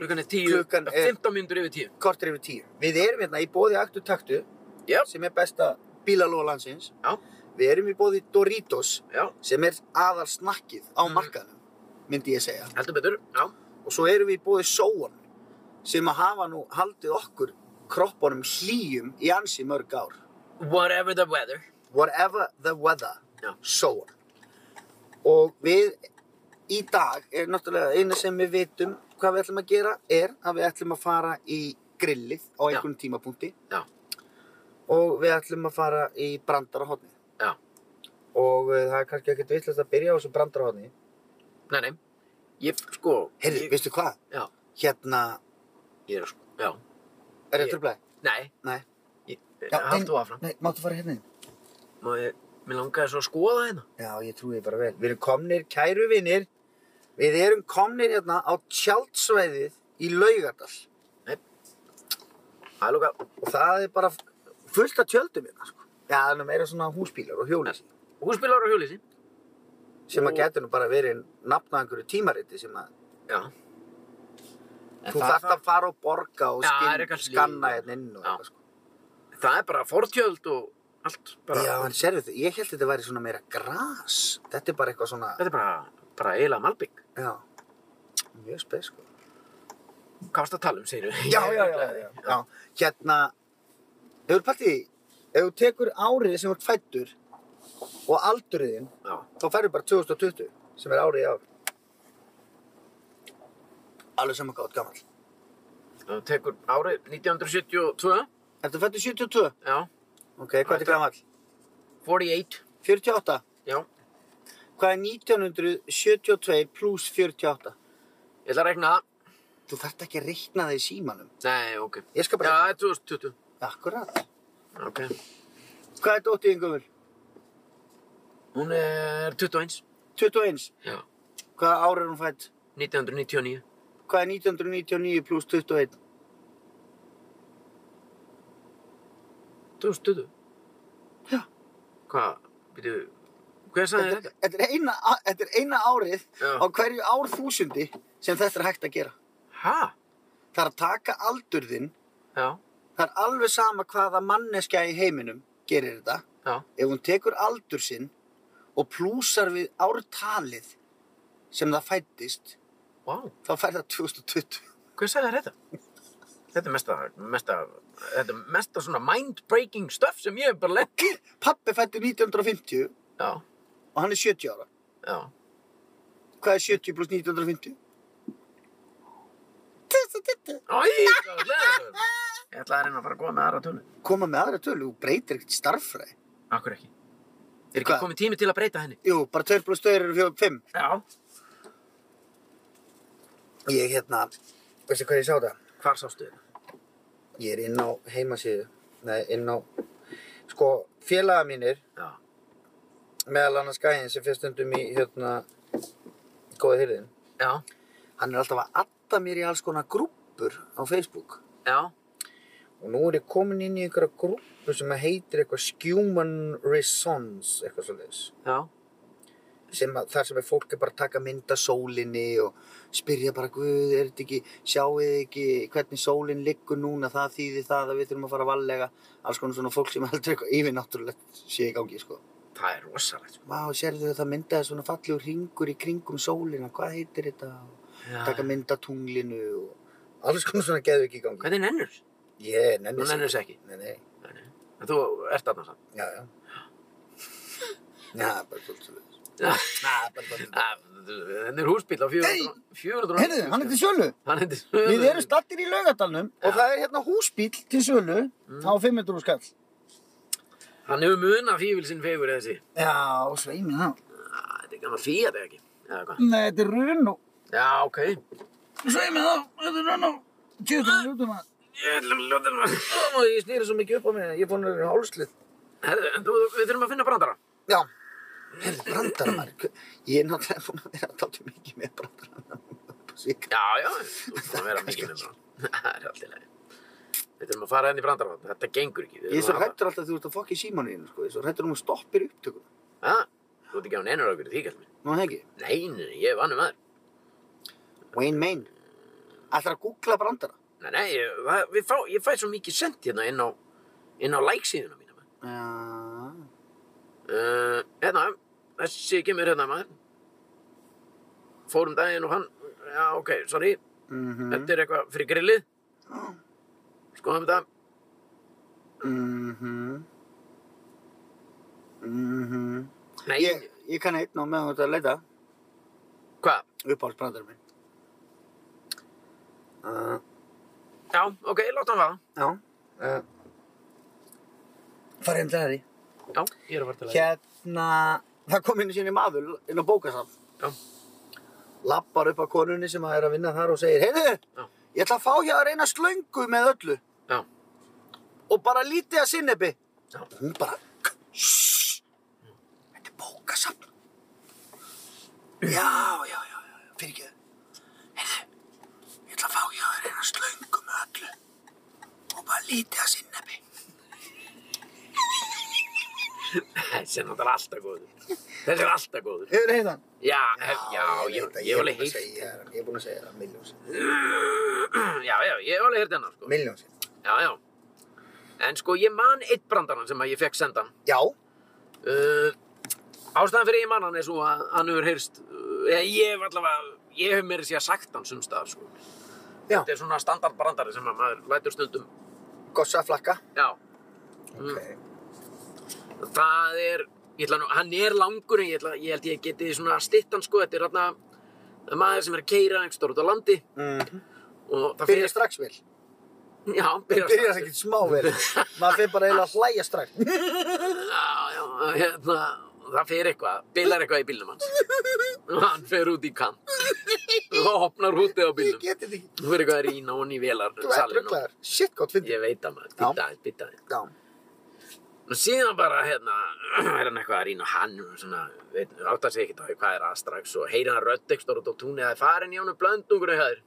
[SPEAKER 2] klukkan er tíu
[SPEAKER 1] Klukkan er-
[SPEAKER 2] 15 mínútur yfir tíu
[SPEAKER 1] kortir yfir tíu. Við erum hérna í bóði Aktu Taktu,
[SPEAKER 2] já,
[SPEAKER 1] sem er besta bílalóa landsins.
[SPEAKER 2] Já.
[SPEAKER 1] Við erum í bóði Doritos,
[SPEAKER 2] já,
[SPEAKER 1] sem er aðal snakkið á
[SPEAKER 2] Mhm.
[SPEAKER 1] markaðnum, myndi ég segja.
[SPEAKER 2] heldur betur já,
[SPEAKER 1] og svo erum við í bóði sóan sem að hafa nú haldið okkur kroppunum hlýjum í ansi mörg ár
[SPEAKER 2] whatever the weather
[SPEAKER 1] whatever the weather
[SPEAKER 2] Já.
[SPEAKER 1] sóan og við í dag er náttúrulega eina sem við vitum hvað við ætlum að gera er að við ætlum að fara í grillið á
[SPEAKER 2] Já.
[SPEAKER 1] einhvern tímapunkti
[SPEAKER 2] Já.
[SPEAKER 1] og við ætlum að fara í brandarahotni
[SPEAKER 2] Já.
[SPEAKER 1] og uh, það er kannski ekkert vittlust að byrja á þessu brandarahotni
[SPEAKER 2] nei, nei, ég sko
[SPEAKER 1] heyrðu,
[SPEAKER 2] ég,
[SPEAKER 1] veistu hvað?
[SPEAKER 2] Já.
[SPEAKER 1] hérna,
[SPEAKER 2] ég er að sko, já,
[SPEAKER 1] er
[SPEAKER 2] Ég-
[SPEAKER 1] ég trublaði?
[SPEAKER 2] nei
[SPEAKER 1] Nei.
[SPEAKER 2] ég,
[SPEAKER 1] Já,
[SPEAKER 2] haldt
[SPEAKER 1] en-
[SPEAKER 2] þú áfram
[SPEAKER 1] Nei, máttu fara hérna inn?
[SPEAKER 2] Má ég, mér langaði svo að skoða hérna
[SPEAKER 1] Já, ég trúi því bara vel. Við erum komnir, kæru vinnir, við erum komnir hérna á tjaldsvæðið í Laugardal.
[SPEAKER 2] það er lóka,
[SPEAKER 1] Og það er bara fullt af tjöldum hérna, sko. Já, það er nú meira svona húsbílar og hjólísi.
[SPEAKER 2] húspilar á hjólísi
[SPEAKER 1] Sem
[SPEAKER 2] Og-
[SPEAKER 1] að getur nú bara verið nafna einhverju tímariti sem að
[SPEAKER 2] já En
[SPEAKER 1] þú
[SPEAKER 2] það-
[SPEAKER 1] þarft að fara og borga og
[SPEAKER 2] Já, það
[SPEAKER 1] skinn,
[SPEAKER 2] er eitthvað
[SPEAKER 1] skanna
[SPEAKER 2] slí-
[SPEAKER 1] hérna inn og
[SPEAKER 2] Já.
[SPEAKER 1] eitthvað, sko.
[SPEAKER 2] það er bara fortjöld og allt bara,
[SPEAKER 1] Já, en sérðu þau, ég held þetta væri svona meira gras. Þetta er bara eitthvað svona,
[SPEAKER 2] þetta er bara bara eiginlega malbygg.
[SPEAKER 1] já. Mjög spes, sko.
[SPEAKER 2] Hvað varst að tala um, segir við?
[SPEAKER 1] Já, já, já, já. já. Hérna, ef þú pælt í því, ef þú tekur árið sem þú ert fættur og aldurðin,
[SPEAKER 2] Já,
[SPEAKER 1] þá færðu bara 2020 sem er árið í ár alveg saman gátt gammal
[SPEAKER 2] þú tekur árið 1972,
[SPEAKER 1] Ertu fættu 72?
[SPEAKER 2] já,
[SPEAKER 1] Ok, hvað er
[SPEAKER 2] Þetta-
[SPEAKER 1] gammal?
[SPEAKER 2] 48,
[SPEAKER 1] 48
[SPEAKER 2] já.
[SPEAKER 1] Hvað er 1972 pluss 48?
[SPEAKER 2] Ég ætla að regna það.
[SPEAKER 1] Þú þarft ekki að reikna það í símanum
[SPEAKER 2] Nei, ok.
[SPEAKER 1] Ég skal
[SPEAKER 2] Já,
[SPEAKER 1] bara
[SPEAKER 2] það er 2020.
[SPEAKER 1] Akkurat
[SPEAKER 2] Ok.
[SPEAKER 1] Hvað er dóttið yngumul?
[SPEAKER 2] Hún er 21,
[SPEAKER 1] 21
[SPEAKER 2] Já.
[SPEAKER 1] Hvað ár er hún fætt?
[SPEAKER 2] 1999.
[SPEAKER 1] Hvað er 1999 pluss 21?
[SPEAKER 2] 2020?
[SPEAKER 1] Já.
[SPEAKER 2] Hvað, byrju, hvað sagði
[SPEAKER 1] Þetta
[SPEAKER 2] þetta?
[SPEAKER 1] er- þetta er, eina, þetta er eina árið
[SPEAKER 2] Já.
[SPEAKER 1] á hverju ár þúsundi sem þetta er hægt að gera
[SPEAKER 2] Hæ?
[SPEAKER 1] Það er að taka aldurðin
[SPEAKER 2] Já,
[SPEAKER 1] Það er alveg sama hvaða manneskja í heiminum gerir þetta.
[SPEAKER 2] já,
[SPEAKER 1] Ef hún tekur aldur sinn og plúsar við ártalið sem það fættist,
[SPEAKER 2] vá,
[SPEAKER 1] þá fær það 2020.
[SPEAKER 2] hvað sagði þetta? Þetta er mesta, mesta, þetta er mesta svona mind-breaking stuff sem ég hef bara lett í.
[SPEAKER 1] Pappi fætti 1950
[SPEAKER 2] Já,
[SPEAKER 1] og hann er 70 ára.
[SPEAKER 2] já,
[SPEAKER 1] Hvað er 70 pluss 1950? 2020.
[SPEAKER 2] æj, hvað er þetta? Ég ætlaði að reyna að fara að góða með aðra tölu.
[SPEAKER 1] Koma með aðra tölu, þú breytir ekkert starffræði.
[SPEAKER 2] Akkur ekki. Er ekki
[SPEAKER 1] Hvað?
[SPEAKER 2] komið tími til að breyta henni?
[SPEAKER 1] Jú, bara 2 pluss 2 eru 5.
[SPEAKER 2] Já.
[SPEAKER 1] Ég hérna, veistu hvað ég sá það?
[SPEAKER 2] Hvar sástu þetta?
[SPEAKER 1] Ég er inn á heimasíðu. Nei, inn á, sko, félaga mínir
[SPEAKER 2] Já,
[SPEAKER 1] meðal annars gæðin sem fyrst stundum í hérna góða hyrðin
[SPEAKER 2] já,
[SPEAKER 1] hann er alltaf að adda mér í alls konar grúppur á Facebook
[SPEAKER 2] já,
[SPEAKER 1] og nú er ég komin inn í einhverja grúppu sem að heitir eitthvað Human Resons eitthvað svoleiðis
[SPEAKER 2] já,
[SPEAKER 1] sem að, þar sem er fólk er bara að taka mynda sólinni og spyrja bara guð, er þetta ekki, sjáið þið ekki hvernig sólinn liggur núna, það þýðir það að við þurfum að fara varlega alls konar svona fólk sem heldur eitthvað yfirnáttúrulegt sé í gangi sko
[SPEAKER 2] það er rosalegt. sko.
[SPEAKER 1] Vá, sérðu það myndaði svona fallegur ringur í kringum sólina, hvað heitir þetta?
[SPEAKER 2] Já.
[SPEAKER 1] Taka mynda tunglinu og alls konar svona geðu ekki í gangi.
[SPEAKER 2] Hvernig nennur?
[SPEAKER 1] Ég
[SPEAKER 2] Þú
[SPEAKER 1] nenni
[SPEAKER 2] nennur þess ekki.
[SPEAKER 1] Nei, nei,
[SPEAKER 2] Nei, nei. En þú ert aðna samt.
[SPEAKER 1] já, já. Já, bara svolítið svolítið.
[SPEAKER 2] Já.
[SPEAKER 1] Já, bara svolítið.
[SPEAKER 2] Ah, Þetta er húsbíl á 400 400
[SPEAKER 1] Heyrðu, hann er til sölu.
[SPEAKER 2] Hann heitir
[SPEAKER 1] Við erum stattir í Mm. laugadalnum og
[SPEAKER 2] Já.
[SPEAKER 1] það er hérna húsbíl til sölu á 500 skall.
[SPEAKER 2] Hann hefur muna fífil sinn fegur eða þessi
[SPEAKER 1] Já, og sveimið það.
[SPEAKER 2] Æ, Þetta er gammal fíat eða ekki Eða hvað?
[SPEAKER 1] Nei, þetta er runn og
[SPEAKER 2] Já, ok
[SPEAKER 1] sveimið það. Þetta er runn og tjóðum lútum að.
[SPEAKER 2] Ég ætlum að ljóta hann
[SPEAKER 1] Ég snýri svo mikið upp á mig, ég er búin að vera í hálslið.
[SPEAKER 2] Herðu, en þú, við þurfum að finna brandara
[SPEAKER 1] Já. Herri, brandaramar. Ég er náttúrulega búin að vera alltaf mikið með brandaramar.
[SPEAKER 2] Já, já, þú þurfum að vera mikið með brandara Það er alltaf leið Við þurfum að fara henni í brandara Þetta gengur ekki
[SPEAKER 1] Ég er svo hrættur alltaf að þú ert að fokka í símaninu, sko. Ég er svo hrættur um að stoppir upptökuna.
[SPEAKER 2] Hæ? Þú ert ekki á neinur okkur því, kall minn
[SPEAKER 1] Nú hegi.
[SPEAKER 2] Nei, nei, nei, ég er vannum aður
[SPEAKER 1] Wayne Main. Ætlar að googla brandara.
[SPEAKER 2] Nei, nei, ég, það- við fá, ég fæ svo mikið sent hérna inn á inn á like-síðuna mína maður.
[SPEAKER 1] Já.
[SPEAKER 2] Uh, hérna, þessi kemur hérna maður. Fórum daginn og hann, já ok, sorry,
[SPEAKER 1] Mhm.
[SPEAKER 2] þetta er eitthvað fyrir grillið. Skoðum þetta,
[SPEAKER 1] Mhm. Mhm.
[SPEAKER 2] nei,
[SPEAKER 1] Ég, ég kann einn og meðan þú ert að leita
[SPEAKER 2] hvað?
[SPEAKER 1] uppáhaldsbrandara minn. Uh,
[SPEAKER 2] Já, ok, láta hann vaða.
[SPEAKER 1] já. Uh, Farið um til það því.
[SPEAKER 2] Já, ég er að fara til að
[SPEAKER 1] Hérna, það kom inn sinni maður inn á bókasafn.
[SPEAKER 2] Já.
[SPEAKER 1] Lappar upp að konunni sem að er að vinna þar og segir,
[SPEAKER 2] Já.
[SPEAKER 1] heyrðu, ég ætla að fá hér að reyna slöngu með öllu
[SPEAKER 2] Já,
[SPEAKER 1] og bara lítið að sinnebi.
[SPEAKER 2] Já.
[SPEAKER 1] Hún bara, shhh, þetta er bókasafn. Já, já, já, já, fyrir ekki þau. Heyrðu, ég ætla að fá hér að reyna slöngu með öllu og bara lítið að sinnebi.
[SPEAKER 2] þessi er náttúrulega alltaf góður. Þessi er alltaf góður.
[SPEAKER 1] Hefur þið heitan?
[SPEAKER 2] Já, já, já ég, ég hef alveg hýrt.
[SPEAKER 1] Ég er búin að segja það, miljón sinnum.
[SPEAKER 2] Já, já, ég hef alveg hýrt hennar, sko.
[SPEAKER 1] Miljón sinnum.
[SPEAKER 2] Já, já. En sko, ég man eitt brandarann sem að ég fekk sendan.
[SPEAKER 1] Já,
[SPEAKER 2] Uh, ástæðan fyrir ég man hann er svo að hann hefur heyrst uh, eða ég hef allavega, ég hef meira sér sagt hann sumstaðar, sko.
[SPEAKER 1] Já.
[SPEAKER 2] Þetta er svona standardbrandari sem að maður lætur stundum,
[SPEAKER 1] Gossa flakka.
[SPEAKER 2] já.
[SPEAKER 1] Ok.
[SPEAKER 2] Það er, ég ætla nú, hann er langur en ég, ætla, ég held ég geti svona stittan sko, þetta er þarna það er maður sem er að keira einhver út á landi
[SPEAKER 1] Mm.
[SPEAKER 2] og það
[SPEAKER 1] Byrja strax vel.
[SPEAKER 2] já, byrja
[SPEAKER 1] Byrja ekkert smá vel. Maður fyrir bara eiginlega að hlæja strax.
[SPEAKER 2] já, já, hérna, það fer eitthvað, bilar eitthvað í bílnum hans og hann fer út í kant og hopnar hútið á
[SPEAKER 1] Ég
[SPEAKER 2] bílnum
[SPEAKER 1] geti þetta ekki.
[SPEAKER 2] þú fyrir eitthvað að rýna honni í vélar
[SPEAKER 1] Þú ert
[SPEAKER 2] salinn og
[SPEAKER 1] rugglaður. Shit, gott fyndið.
[SPEAKER 2] ég veit að maður,
[SPEAKER 1] Já.
[SPEAKER 2] býta aðeins, býta aðeins
[SPEAKER 1] Já.
[SPEAKER 2] og síðan bara, hérna, er hann eitthvað að rýna og hann, svona, veit, átt að segja ekkert á því hvað er að strax og heyri hann rödd ekstra út á túnið að það er farin í honum blöndungur eða höður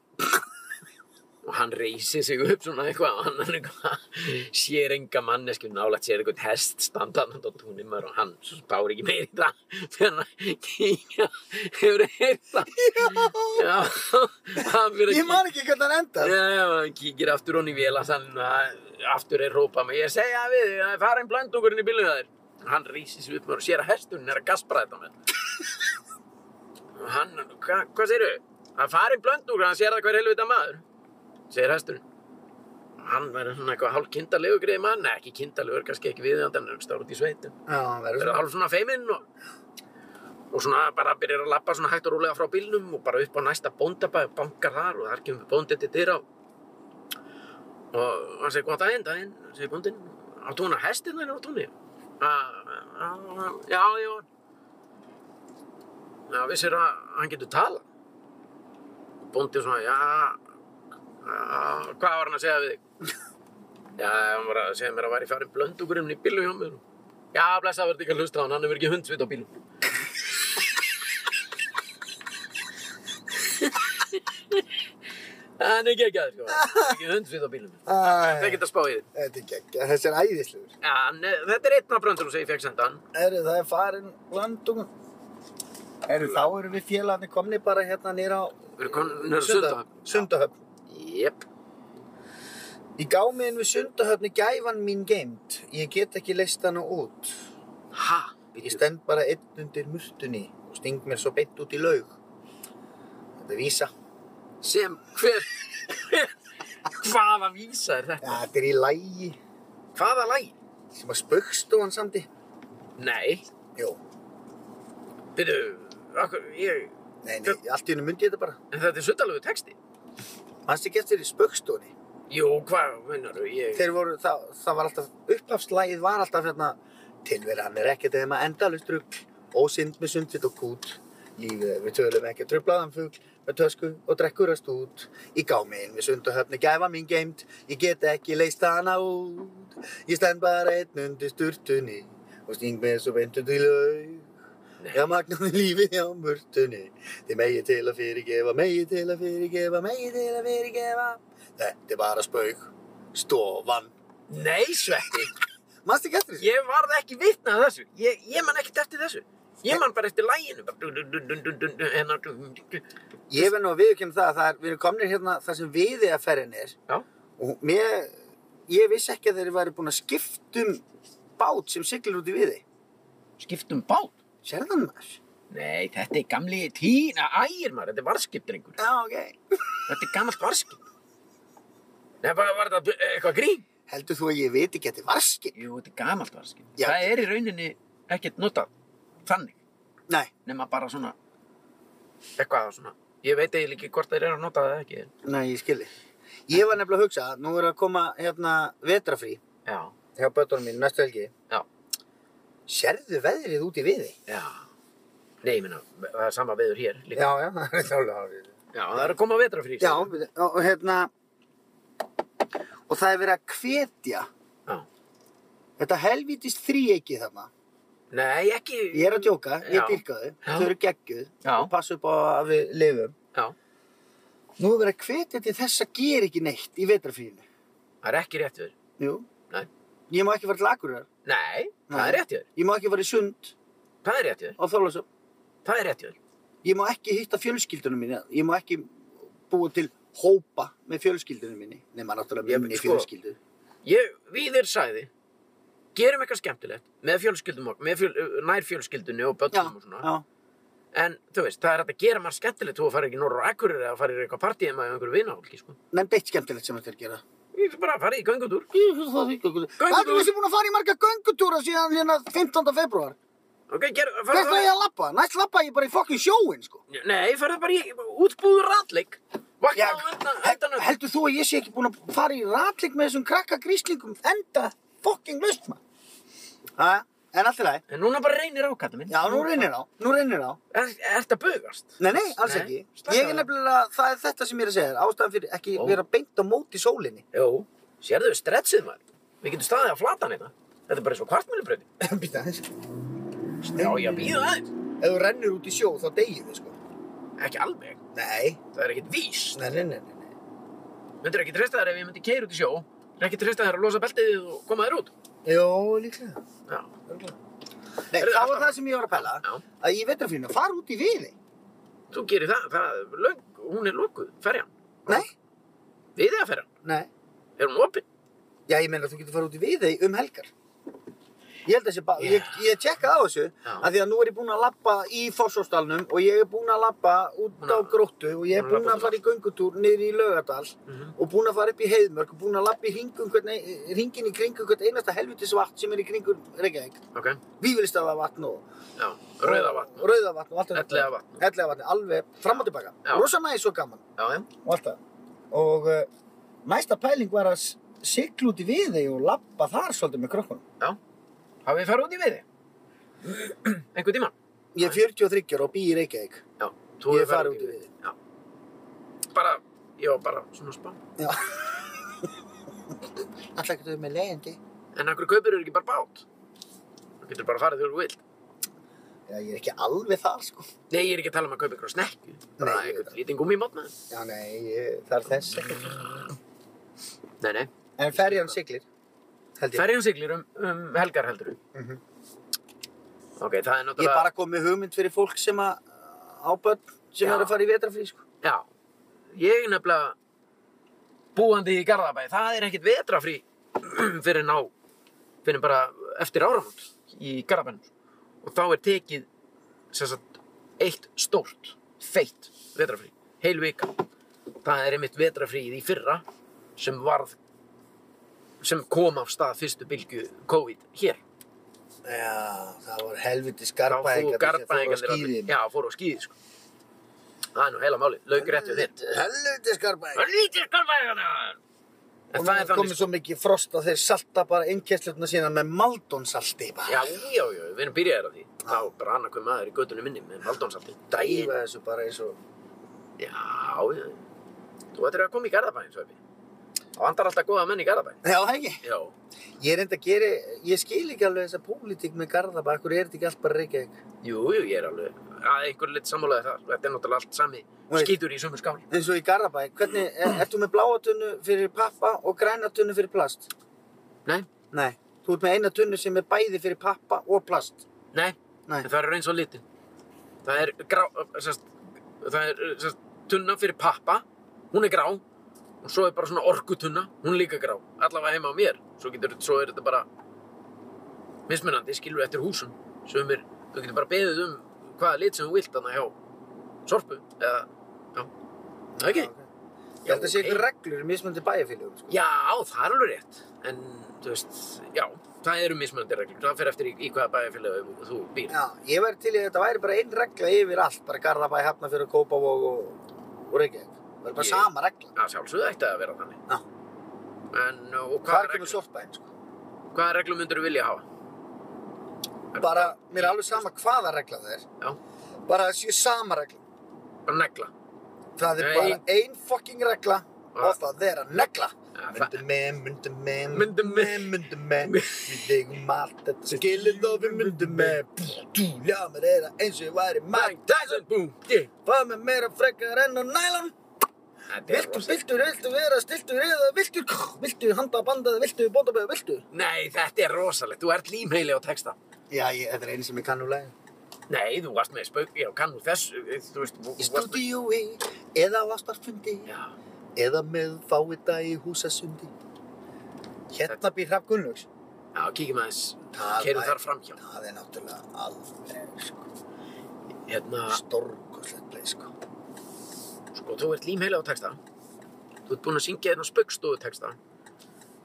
[SPEAKER 2] og hann reysir sig upp svona eitthvað og hann er eitthvað sér enga manneski nálægt sér eitthvað hest standað hann á túnið maður og hann spáir ekki meir í það þegar hann kíkja hefur heyrt það já, hann fyrir
[SPEAKER 1] Ég man ekki hvernig hann endar.
[SPEAKER 2] Já, já, hann kíkir aftur honni í vélasann aftur er hrópað mig, ég segja við þig það er farin blöndungurinn í bílum þær hann rísi sig upp með og sér að hesturinn er að gaspra þetta með og hann, hva, hvað segirðu? það er farin blöndungurinn, hann sér það hver helvita maður segir hesturinn Og hann verður svona eitthvað hálf kindalegu greið mann Nei, ekki kindalegur, kannski ekki viðjandi hann er stáður út í sveitum
[SPEAKER 1] Já, verður
[SPEAKER 2] verður
[SPEAKER 1] svona.
[SPEAKER 2] hálf svona feiminn og, og svona bara byrjar að lappa svona hægt og rólega frá bílnum og bara upp á næsta bóndabæ og bankar þar og þar kemur bóndið til dyra og hann segir góðan daginn, daginn, segir bóndin áttu hún að hestið þær á tóni "Ah, já, já já, vissir að hann getur tala bóndið svona, já, já hvað var hann að segja við þig já, hann var að segja mér að væri farin blöndugurinn í bílu hjá mér Já, blessað verður ekki að hlusta á hann, hann hefur ekki hundsvit á bílum. hann er ekki ekki aður, sko. Hann hefur Ekki hundsvit á bílum.
[SPEAKER 1] Æ,
[SPEAKER 2] Það geta spáð í þið.
[SPEAKER 1] Þetta er gegg. Þessi er æðislegur.
[SPEAKER 2] Já, hann er- þetta er einn af bröndurum sem ég fekk sendan.
[SPEAKER 1] Eru það er farin landungum. Eru þá eru við félagarnir komni bara hérna nýra á
[SPEAKER 2] Við erum komin að sundahöfn.
[SPEAKER 1] Sundahöfn.
[SPEAKER 2] Jep.
[SPEAKER 1] Í gámiðin við Sundahöfni gæfan mín geimt. Ég get ekki leist hana út.
[SPEAKER 2] Ha?
[SPEAKER 1] Ég
[SPEAKER 2] Býttu.
[SPEAKER 1] stend bara einn undir murtunni og sting mér svo beint út í laug. Þetta er vísa.
[SPEAKER 2] Sem, hver, hver, hvaða vísa er þetta?
[SPEAKER 1] Ja, þetta er í lægi
[SPEAKER 2] Hvaða læg?
[SPEAKER 1] sem að spöggstofan samdi.
[SPEAKER 2] Nei.
[SPEAKER 1] Jó,
[SPEAKER 2] Býttu, okkur, ég,
[SPEAKER 1] nei, nei, allt í hennu myndi ég þetta bara.
[SPEAKER 2] en þetta er sundalegu texti.
[SPEAKER 1] Mannst ekki eftir í spöggstofunni.
[SPEAKER 2] Jú, hvað, minnar, ég...
[SPEAKER 1] Þeir voru, það, það var alltaf, upphafslægið var alltaf hérna tilveran er ekkert eða maður endalust rugg, ósynd með sundfitt og kút, lífið er við tölum ekki að trublaðan fugl, með tösku og drekkurast út, í gámiðin við sundahöfni gæfa mín geimt, ég get ekki leist hana út, ég stend bara einn undir sturtunni og sting með svo beintum til laug.
[SPEAKER 2] Nei.
[SPEAKER 1] Já, magnaði lífið hjá mörtunni Þið megi til að fyrirgefa, megi til að fyrirgefa, megi til að fyrirgefa Þetta er bara spauk Stofan
[SPEAKER 2] Nei, Sveppi,
[SPEAKER 1] Manstu ekki eftir þessu?
[SPEAKER 2] ég varð ekki vitnað þessu. Ég, ég man ekkert eftir þessu. Ég man bara eftir læginu. bara dun, dun, dun, dun, dun, dun, dun, hérna, dun, dun, dun.
[SPEAKER 1] Ég verð nú að viðurkenna það að það er, við erum komnir hérna þar sem viðið að ferðin er
[SPEAKER 2] Já.
[SPEAKER 1] og mér, ég vissi ekki að þeir væri búin að skipta um bát sem siglir út í viði
[SPEAKER 2] Skiptum bát?
[SPEAKER 1] Sérðu það maður?
[SPEAKER 2] Nei, þetta er gamli tína ægir maður. Þetta er varskip, drengur.
[SPEAKER 1] Já, ok
[SPEAKER 2] Þetta er gammalt varskip. Nei, bara var þetta bu- eitthvað grín?
[SPEAKER 1] Heldur þú að ég veit ekki að þetta var skip?
[SPEAKER 2] Jú, þetta er gammalt varskip.
[SPEAKER 1] Já.
[SPEAKER 2] Það er í rauninni ekkert notað þannig.
[SPEAKER 1] Nei,
[SPEAKER 2] Nefna bara svona, eitthvað svona. Ég veit eiginlega ekki hvort þeir eru að nota það eða ekki. en-
[SPEAKER 1] nei, ég skilji Ég var nefnilega að hugsa að nú er að koma hérna vetrafrí
[SPEAKER 2] Já,
[SPEAKER 1] hjá bötunum mín næstu helgi
[SPEAKER 2] já,
[SPEAKER 1] Sérðu veðrið út í viði?
[SPEAKER 2] já. Nei, ég minna, það er sama viður hér líka.
[SPEAKER 1] Já, já, það er þálega hárið
[SPEAKER 2] Já, það er að koma vetrafrí.
[SPEAKER 1] Já, og og hérna og það er verið að hvetja
[SPEAKER 2] Já.
[SPEAKER 1] þetta helvítist þríeiki þarna
[SPEAKER 2] Nei, ekki.
[SPEAKER 1] ég er að djóka,
[SPEAKER 2] Já.
[SPEAKER 1] ég dýrka þau
[SPEAKER 2] Já.
[SPEAKER 1] þau eru geggjuð
[SPEAKER 2] Já.
[SPEAKER 1] og passa upp á að við lifum
[SPEAKER 2] Já,
[SPEAKER 1] nú er verið að hvetja til þess að gera ekki neitt í vetrafríinu
[SPEAKER 2] það er ekki rétt við.
[SPEAKER 1] Jú,
[SPEAKER 2] Nei.
[SPEAKER 1] ég má ekki fara til Akureyrar
[SPEAKER 2] Nei, það
[SPEAKER 1] Nei.
[SPEAKER 2] er rétt við.
[SPEAKER 1] ég má ekki fara í sund
[SPEAKER 2] Það er rétt við.
[SPEAKER 1] á Þorlásum
[SPEAKER 2] Það er rétt við.
[SPEAKER 1] ég má ekki hitta fjölskyldunum mín ég má ekki búa til hópa með fjölskyldunum minni nema náttúrulega
[SPEAKER 2] Ég-
[SPEAKER 1] minni
[SPEAKER 2] sko-
[SPEAKER 1] fjölskyldu
[SPEAKER 2] Ég, við er sæði, gerum eitthvað skemmtilegt með fjölskyldum okkur, með fjöl, uh, nær fjölskyldunni og
[SPEAKER 1] já,
[SPEAKER 2] börnum og svona.
[SPEAKER 1] já,
[SPEAKER 2] En, þú veist, það er hægt að gera margt skemmtilegt þú að fara ekki norður á Akureyri eða fara í eitthvað partíið með einhverju vinahólki, sko.
[SPEAKER 1] Nefnd eitt skemmtilegt sem þetta er að gera.
[SPEAKER 2] Ég er bara að fara í göngutúr.
[SPEAKER 1] Ég finnst Það er
[SPEAKER 2] Göngutúr.
[SPEAKER 1] þessi búin að fara í marga göngutúra síðan hérna 15. februar.
[SPEAKER 2] Ok, ger, fara
[SPEAKER 1] Hvert var ég að labba? Næst labba ég bara í fokkin sjóin, sko.
[SPEAKER 2] Nei, fara bara í útbúður ratleik. Vakna
[SPEAKER 1] Já,
[SPEAKER 2] hérna á endan, endan öll.
[SPEAKER 1] heldur þú að ég sé ekki búin að fara í ratleik með þessum krakka gríslingum enda fokkin löst maður? Ha? En allt í lagi.
[SPEAKER 2] En núna bara reynir á, kallið minn.
[SPEAKER 1] Já, nú reynir á, nú reynir á.
[SPEAKER 2] Er, er þetta bugast?
[SPEAKER 1] Nei, nei, alls
[SPEAKER 2] Nei,
[SPEAKER 1] ekki.
[SPEAKER 2] slakaðu
[SPEAKER 1] Ég er
[SPEAKER 2] á.
[SPEAKER 1] nefnilega, það er þetta sem ég er að segja þér. Ástæðan fyrir ekki
[SPEAKER 2] Ó.
[SPEAKER 1] vera beint á móti sólinni.
[SPEAKER 2] Jó, sérðu, stretchið maður. Við getum staðið að flata hann hérna. Þetta er bara eins og kvartmjölubröði.
[SPEAKER 1] Býta þess.
[SPEAKER 2] Já, ég býða aðeins.
[SPEAKER 1] Ef þú rennur út í sjó þá deyjum við, sko.
[SPEAKER 2] Ekki alveg.
[SPEAKER 1] Nei,
[SPEAKER 2] Það er ekkit víst.
[SPEAKER 1] nei, nei, nei. nei.
[SPEAKER 2] Myndir ekki treysta þær ef ég myndi keira út í sjó. Ekki treysta þær að losa beltið og koma þær út.
[SPEAKER 1] Jó, líklega.
[SPEAKER 2] Já.
[SPEAKER 1] Nei,
[SPEAKER 2] Heyrðu,
[SPEAKER 1] það var
[SPEAKER 2] aftan-
[SPEAKER 1] það sem ég var að pæla.
[SPEAKER 2] Já.
[SPEAKER 1] Að ég veitur fyrir fara út í viði.
[SPEAKER 2] Þú gerir það. Það er löng. Hún er lokuð. Ferjan.
[SPEAKER 1] Nei,
[SPEAKER 2] Við eða ferjan.
[SPEAKER 1] nei.
[SPEAKER 2] Er hún opinn?
[SPEAKER 1] Já, ég meina að þú getur fara út í viði um helgar. Ég held að sé bara, ég, ég tjekkaði á þessu,
[SPEAKER 2] Já.
[SPEAKER 1] að því að nú er ég búinn að lappa í Fossóstalnum og ég er búinn að lappa út
[SPEAKER 2] Búin
[SPEAKER 1] á
[SPEAKER 2] að-
[SPEAKER 1] gróttu og ég er
[SPEAKER 2] búin að
[SPEAKER 1] búinn
[SPEAKER 2] labba
[SPEAKER 1] að fara í göngutúr niður í Laugardal
[SPEAKER 2] Mhm.
[SPEAKER 1] og búinn að fara upp í Heiðmörk og búinn að lappa í hringum, hvernig, hringin í kringum hvert einasta helvitis vatn sem er í kringum Reykjavík.
[SPEAKER 2] Ok.
[SPEAKER 1] Vífylstafa vatn og...
[SPEAKER 2] Já. Rauða vatn.
[SPEAKER 1] Rauða vatn og allt þetta.
[SPEAKER 2] Ellega vatn.
[SPEAKER 1] Ellega vatn, alveg fram og tilbaka.
[SPEAKER 2] Já.
[SPEAKER 1] Rosa næs og gaman
[SPEAKER 2] Já, já.
[SPEAKER 1] og allt það. Og uh, næsta pæling var að s- sigla út í viði og lappa þar svolítið með krökkunum.
[SPEAKER 2] Já. Hafið þið farið út í viði? Einhver tíma?
[SPEAKER 1] Ég er 43 ára og bý í Reykjavík.
[SPEAKER 2] Já. Þú
[SPEAKER 1] Ég
[SPEAKER 2] hefur
[SPEAKER 1] farið út í veiði.
[SPEAKER 2] Já. Bara, já, bara svona spá.
[SPEAKER 1] Já. Alltaf ekki þau með leiðindi.
[SPEAKER 2] En akkur kaupir eru ekki bara bát? Þú getur bara farið þegar þú vilt.
[SPEAKER 1] Já, ég er ekki alveg þar, sko.
[SPEAKER 2] Nei, ég er ekki að tala um að kaupa ykkur snekku.
[SPEAKER 1] Nei,
[SPEAKER 2] Bara
[SPEAKER 1] ég veit
[SPEAKER 2] einhvern
[SPEAKER 1] það.
[SPEAKER 2] lítinn gummimátna.
[SPEAKER 1] Já, nei, ég, það er þess ekki.
[SPEAKER 2] Nei, nei.
[SPEAKER 1] En ferjan siglir, held ég.
[SPEAKER 2] Ferjan siglir um, um helgar heldur við.
[SPEAKER 1] Mhm.
[SPEAKER 2] Ok, það er náttúrulega...
[SPEAKER 1] Ég er bara kom með hugmynd fyrir fólk sem að ábönd sem
[SPEAKER 2] Já.
[SPEAKER 1] er að fara í vetrafrí, sko.
[SPEAKER 2] Já. Ég er nefnilega búandi í Garðabæ. Það er ekkit vetrafrí fyrir ná, fyrir bara eftir áramót í Garðabænum. Og þá er tekið, sem sagt, eitt stórt, feitt vetrafrí. Heil vika. Það er einmitt vetrafríð í fyrra sem varð, sem kom af stað fyrstu bylgu COVID hér.
[SPEAKER 1] Já, það voru helviti
[SPEAKER 2] Þá fór garðbæðingarnir allir-
[SPEAKER 1] skýðin.
[SPEAKER 2] Já, fóru á skýði, sko. Það er nú heila málið. Laukur rétt við þér.
[SPEAKER 1] Helviti skarbæðingar.
[SPEAKER 2] Örlítið skarfæðan En það er þannig
[SPEAKER 1] komið
[SPEAKER 2] sko
[SPEAKER 1] svo mikið frost að þeir salta bara innkeslutna sína með maldonsalti bara.
[SPEAKER 2] Já, já, já, við erum byrjaðir á því Þá bara annað hver maður í göttunum minni með valdónsaldi Dæin
[SPEAKER 1] Dæfa þessu bara eins og...
[SPEAKER 2] Já, já Þú ættir að koma í Garðabæn, Sveppi Það vandar alltaf góða menn í Garðabæn
[SPEAKER 1] Já, það ekki.
[SPEAKER 2] Já,
[SPEAKER 1] Ég reyndi að gera, ég skil ekki alveg þessa pólitík með Garðabæ, akkur er þetta ekki allt bara Reykjavík?
[SPEAKER 2] jú, jú, ég er alveg að einhver lit sammálaði þar Þetta er náttúrulega allt sami
[SPEAKER 1] Nei.
[SPEAKER 2] skítur í sömu skáli
[SPEAKER 1] Eins og í Garðabæ, hvernig, er, ert þú með bláa tunnu fyrir pappa og græna tunnu fyrir plast?
[SPEAKER 2] Nei,
[SPEAKER 1] Nei, þú ert með eina tunnu sem er bæði fyrir pappa og plast.
[SPEAKER 2] nei,
[SPEAKER 1] Nei,
[SPEAKER 2] en það er eins og litin Það er grá, sérst, það er sérst, tunna fyrir pappa, hún er grá og svo er bara svona orkutunna, hún er líka grá allavega heima á mér, svo, getur, svo er þetta bara mismunandi, skilur eftir húsum sem er, þú getur bara beðið um hvaða lit sem þú vilt þannig hjá sorpu eða, já, það ekki?
[SPEAKER 1] ég held að sé
[SPEAKER 2] ok.
[SPEAKER 1] ykkur reglur í mismöndi bæjarfélögum, sko.
[SPEAKER 2] Já, það er alveg rétt en, þú veist, já, það eru mismunandi reglur, það fer eftir í, í hvaða bæjarfélag þú býr
[SPEAKER 1] Já, ég væri til í að þetta væri bara einn regla yfir allt, bara Garðabæ, Hafnafjörður, Kópavog og, og Reykjavík. Það er bara
[SPEAKER 2] Ég-
[SPEAKER 1] sama regla.
[SPEAKER 2] að sjálfsögðu ætti að vera þannig.
[SPEAKER 1] Já.
[SPEAKER 2] En, uh, og hvaða
[SPEAKER 1] Hvað er
[SPEAKER 2] reglum,
[SPEAKER 1] ekki með sortbæn, sko?
[SPEAKER 2] hvaða reglum myndur þú vilja hafa?
[SPEAKER 1] Bara, mér er alveg sama hvaða regla það er.
[SPEAKER 2] Já.
[SPEAKER 1] Bara þessi sama regla.
[SPEAKER 2] Bara negla.
[SPEAKER 1] Það er
[SPEAKER 2] Nei.
[SPEAKER 1] bara ein fucking regla
[SPEAKER 2] Ah.
[SPEAKER 1] og það er að negla.
[SPEAKER 2] Ja,
[SPEAKER 1] Myndum með, myndum með,
[SPEAKER 2] Myndum með.
[SPEAKER 1] myndum með. Við eigum allt þetta skilin og við myndum með. Bú, dú, ljá mér er það eins og ég væri Mike Tyson.
[SPEAKER 2] boom, yeah.
[SPEAKER 1] Fáð með meira frekar enn á nælon.
[SPEAKER 2] Þetta er
[SPEAKER 1] Viltu,
[SPEAKER 2] rosa.
[SPEAKER 1] viltu, viltu vera, stiltu, reyða, viltu, krr, viltu, handa, bandaði, viltu, bóndabæði, viltu.
[SPEAKER 2] Nei, þetta er rosalegt. Þú ert límheili á texta.
[SPEAKER 1] Já, ég, þetta er einu sem ég kann úr lægin.
[SPEAKER 2] Nei, þú varst með spauk, já, kannu þessu, þú veist, þú
[SPEAKER 1] Í
[SPEAKER 2] þú varst með...
[SPEAKER 1] stúdíói, eða á ástarfundi,
[SPEAKER 2] Já,
[SPEAKER 1] eða með fáita í húsasundi. Hérna býr Hrafn Gunnlaugs.
[SPEAKER 2] já, kíkjum aðeins,
[SPEAKER 1] Það
[SPEAKER 2] keirum
[SPEAKER 1] væri-
[SPEAKER 2] þar framhjá.
[SPEAKER 1] Það er náttúrulega alveg, sko.
[SPEAKER 2] hérna,
[SPEAKER 1] Stórkoslegt play, sko.
[SPEAKER 2] sko, þú ert límheila á texta. Þú ert búinn að syngja hérna spaukstofu texta.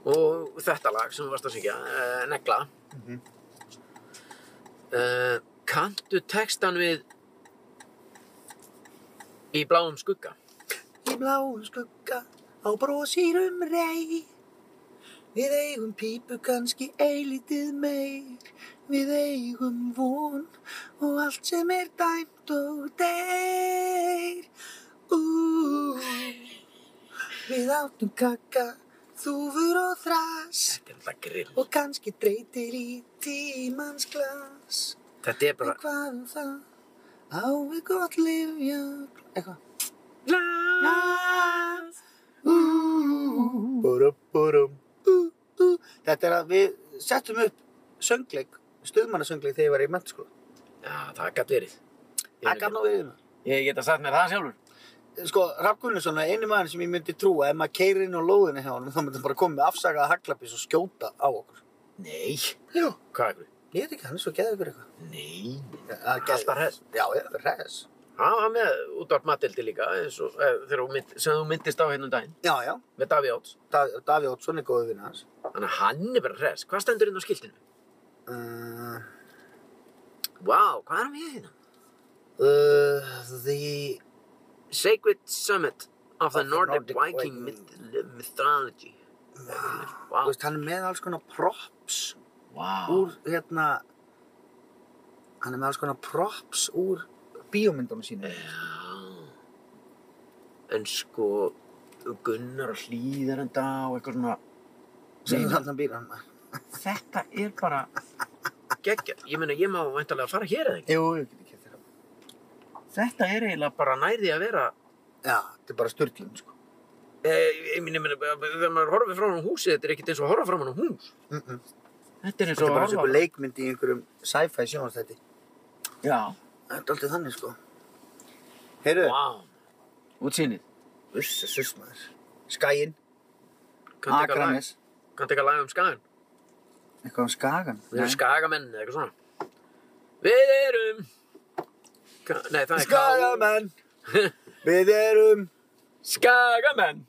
[SPEAKER 2] Og þetta lag sem þú varst að syngja, uh, Negla.
[SPEAKER 1] Mhm.
[SPEAKER 2] Eh, kanntu textan við Í bláum skugga?
[SPEAKER 1] Í bláum skugga á brosýrum rey Við eigum pípu kannski eilítið meir Við eigum von og allt sem er dæmt og deyr Ú, Við áttum kakka, þúfur og þras
[SPEAKER 2] Þetta er alltaf grill.
[SPEAKER 1] Og kannski dreytir í tímans glas
[SPEAKER 2] Þetta er bara...
[SPEAKER 1] En hvað um það, á við gott lifja Eitthvað Búrum, búrum, ú, ú. Þetta er að við settum upp söngleik, stuðmannasöngleik þegar ég var í mennskóla.
[SPEAKER 2] Já, það gæti verið.
[SPEAKER 1] Það gaf ná við hérna.
[SPEAKER 2] Ég get að sagt mér það sjálfur.
[SPEAKER 1] Sko, Raff Gunnarsson er einu maður sem ég myndi trúa ef maður keyrir inn á lóðinu hjá hann þá myndi hann bara koma með afsakaða haglabis og skjóta á okkur.
[SPEAKER 2] Nei.
[SPEAKER 1] Jú,
[SPEAKER 2] Hvað ekkur?
[SPEAKER 1] ég veit ekki, hann er svo geðið ykkur eitthvað.
[SPEAKER 2] Nei.
[SPEAKER 1] Ja, það er geðveikur.
[SPEAKER 2] Alltaf hress.
[SPEAKER 1] Já, já, res.
[SPEAKER 2] Hann var með útvarp matildi líka, eins og eh, þegar þú mynd, sem þú myndist á hérna um daginn,
[SPEAKER 1] Já, já,
[SPEAKER 2] með Daví Áts.
[SPEAKER 1] Dav Daví Oddsson er góðið vinn hans.
[SPEAKER 2] Þannig að hann er bara hress. Hvað stendur inn á skiltinu?
[SPEAKER 1] Uh,
[SPEAKER 2] Vá, hvað er hann við hérna?
[SPEAKER 1] uh, the...
[SPEAKER 2] Sacred Summit of
[SPEAKER 1] Of
[SPEAKER 2] the
[SPEAKER 1] the
[SPEAKER 2] Nordic,
[SPEAKER 1] Nordic
[SPEAKER 2] Viking
[SPEAKER 1] Viking.
[SPEAKER 2] myth- Mythology.
[SPEAKER 1] Þú
[SPEAKER 2] Vá.
[SPEAKER 1] veist, hann er með alls konar props
[SPEAKER 2] Vá.
[SPEAKER 1] úr hérna hann er með alls konar props úr bíómyndunum sínu
[SPEAKER 2] Já. En sko, Gunnar og Hlýðar en dag og eitthvað svona...
[SPEAKER 1] sem þannig býr hann maður.
[SPEAKER 2] Þetta er bara geggjað. Ég meina, ég má væntalega fara hér eða ekki.
[SPEAKER 1] Jú, ég get ekki eftir hann
[SPEAKER 2] Þetta er eiginlega bara nærði að vera...
[SPEAKER 1] Já, þetta er bara styrlun sko
[SPEAKER 2] Eh, ég meina, ég meina, þegar maður horfir fram á húsi, þetta er ekkert eins og að horfa fram á hús.
[SPEAKER 1] mm -mm.
[SPEAKER 2] Þetta er eins
[SPEAKER 1] Þetta
[SPEAKER 2] og
[SPEAKER 1] er bara eins
[SPEAKER 2] að
[SPEAKER 1] og
[SPEAKER 2] horfa...
[SPEAKER 1] einhver leikmynd í einhverjum sci-fi sjónastætti
[SPEAKER 2] Já.
[SPEAKER 1] Þetta er alltaf þannig sko Heyrðu,
[SPEAKER 2] Vá. Útsýnið.
[SPEAKER 1] uss, uss maður Skæin,
[SPEAKER 2] Kanntu eitthvað lag-
[SPEAKER 1] Akranes
[SPEAKER 2] kanntu eitthvað lag um skagan?
[SPEAKER 1] Eitthvað um Skagan
[SPEAKER 2] Við erum skagamenn eða eitthvað svona. Við erum... Ka nei, það er Ká-
[SPEAKER 1] Skagamenn Við erum
[SPEAKER 2] Skagamenn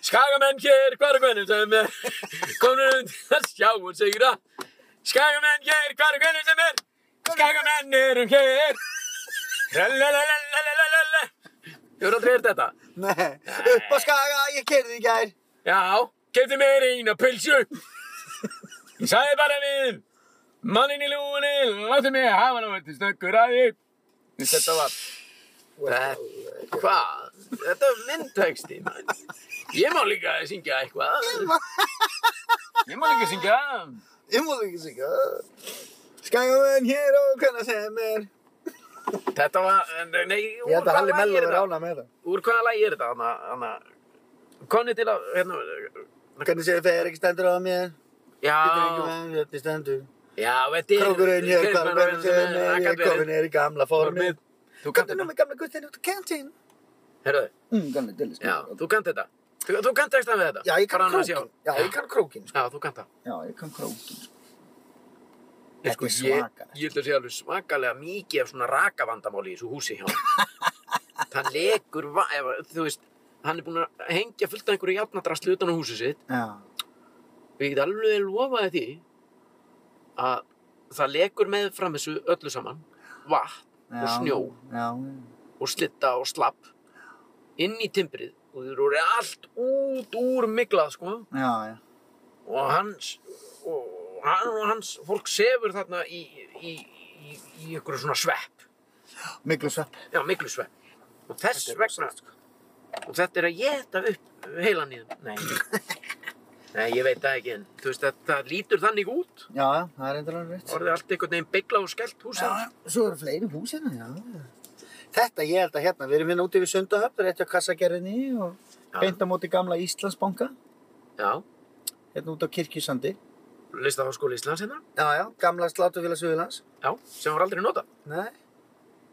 [SPEAKER 2] Skagamenn hér, hvar er hvernig sem er Komnur und að sjá og sigra Skagamenn hér, hvar er hvernig sem er Skagamenn erum hér Tralalalalalalala Þú eru aldrei heyrt þetta?
[SPEAKER 1] Nei, upp á Skaga, ég keyrði í gær
[SPEAKER 2] Já, kefti mér eina pilsu Ég sagði bara við Mannin í lúinni, láttu mig hafa nú þetta stökkur að því Þetta var Þetta- Hvað? Þetta er myndteksti, mann. Ég má líka syngja eitthvað. Ég má líka syngja.
[SPEAKER 1] Ég múið ekki sigga Skagamenn hér og hvernig sem er
[SPEAKER 2] Þetta var, en- nei,
[SPEAKER 1] Ég held að Halli
[SPEAKER 2] lagi
[SPEAKER 1] Mello
[SPEAKER 2] er
[SPEAKER 1] er
[SPEAKER 2] þetta?
[SPEAKER 1] ánað með það.
[SPEAKER 2] Úr hvaða lagi er þetta? Þannig, þannig, konni til að, hérna,
[SPEAKER 1] Hvernig segir þegar ekki stendur á mér? Getur ekki
[SPEAKER 2] já,
[SPEAKER 1] með hvernig stendur.
[SPEAKER 2] já, þetta er.
[SPEAKER 1] Krókurinn hér,
[SPEAKER 2] þetta er-
[SPEAKER 1] hvernig sem er,
[SPEAKER 2] það
[SPEAKER 1] ég
[SPEAKER 2] gat
[SPEAKER 1] er komin
[SPEAKER 2] verið.
[SPEAKER 1] er í gamla formið.
[SPEAKER 2] Þú
[SPEAKER 1] Hvernig
[SPEAKER 2] kannt
[SPEAKER 1] nú
[SPEAKER 2] þetta,
[SPEAKER 1] með gamla guttin út á kantinn?
[SPEAKER 2] herruðu,
[SPEAKER 1] Mm, gamla dillis.
[SPEAKER 2] já, þú kannt þetta. Þú, þú kannt textan við þetta.
[SPEAKER 1] Já, ég
[SPEAKER 2] Bara
[SPEAKER 1] kann
[SPEAKER 2] annars,
[SPEAKER 1] krókin. Já, ég kann krókin, sko.
[SPEAKER 2] Já, þú kannt það.
[SPEAKER 1] Já, ég kann krókin, sko.
[SPEAKER 2] Nei,
[SPEAKER 1] Þetta
[SPEAKER 2] sko,
[SPEAKER 1] er
[SPEAKER 2] ég,
[SPEAKER 1] svakalegt.
[SPEAKER 2] ég held að sé alveg svakalega mikið af svona raka vandamáli í þessu húsi hjá hann. hann lekur, va- ef, þú veist, hann er búinn að hengja fullt af einhverju játnadrasli utan á húsi sitt
[SPEAKER 1] Já.
[SPEAKER 2] og ég get alveg lofaði því að það lekur með fram þessu öllu saman, vatn
[SPEAKER 1] já,
[SPEAKER 2] Og snjó.
[SPEAKER 1] Já,
[SPEAKER 2] og slitta og slapp inn í timbrið og þeir eru allt út úr miklað, sko.
[SPEAKER 1] já, já.
[SPEAKER 2] og hans og hann og hans fólk sefur þarna í, í, í, í einhverju svona svepp
[SPEAKER 1] Miklu svepp.
[SPEAKER 2] Já, miklu svepp. Og þess vegna,
[SPEAKER 1] sko.
[SPEAKER 2] og þetta er að geta upp heilan í þeim. Nei, nei, ég veit það ekki, en þú veist, þetta lítur þannig út.
[SPEAKER 1] Já, já, það er endur alveg rétt.
[SPEAKER 2] Orðið allt einhvern veginn byggla og skellt hús.
[SPEAKER 1] Já, svo eru fleiri hús hérna, já. já. Þetta ég held að hérna, við erum hérna úti við Sundahöfn, rétt hjá kassagerðinni og
[SPEAKER 2] Já.
[SPEAKER 1] beint á móti gamla Íslandsbanka,
[SPEAKER 2] Já,
[SPEAKER 1] hérna út á Kirkjusandi.
[SPEAKER 2] listaháskóli Íslands hérna.
[SPEAKER 1] Já, já, gamla slátufélag Suðurlands.
[SPEAKER 2] Já, sem var aldrei notað.
[SPEAKER 1] Nei,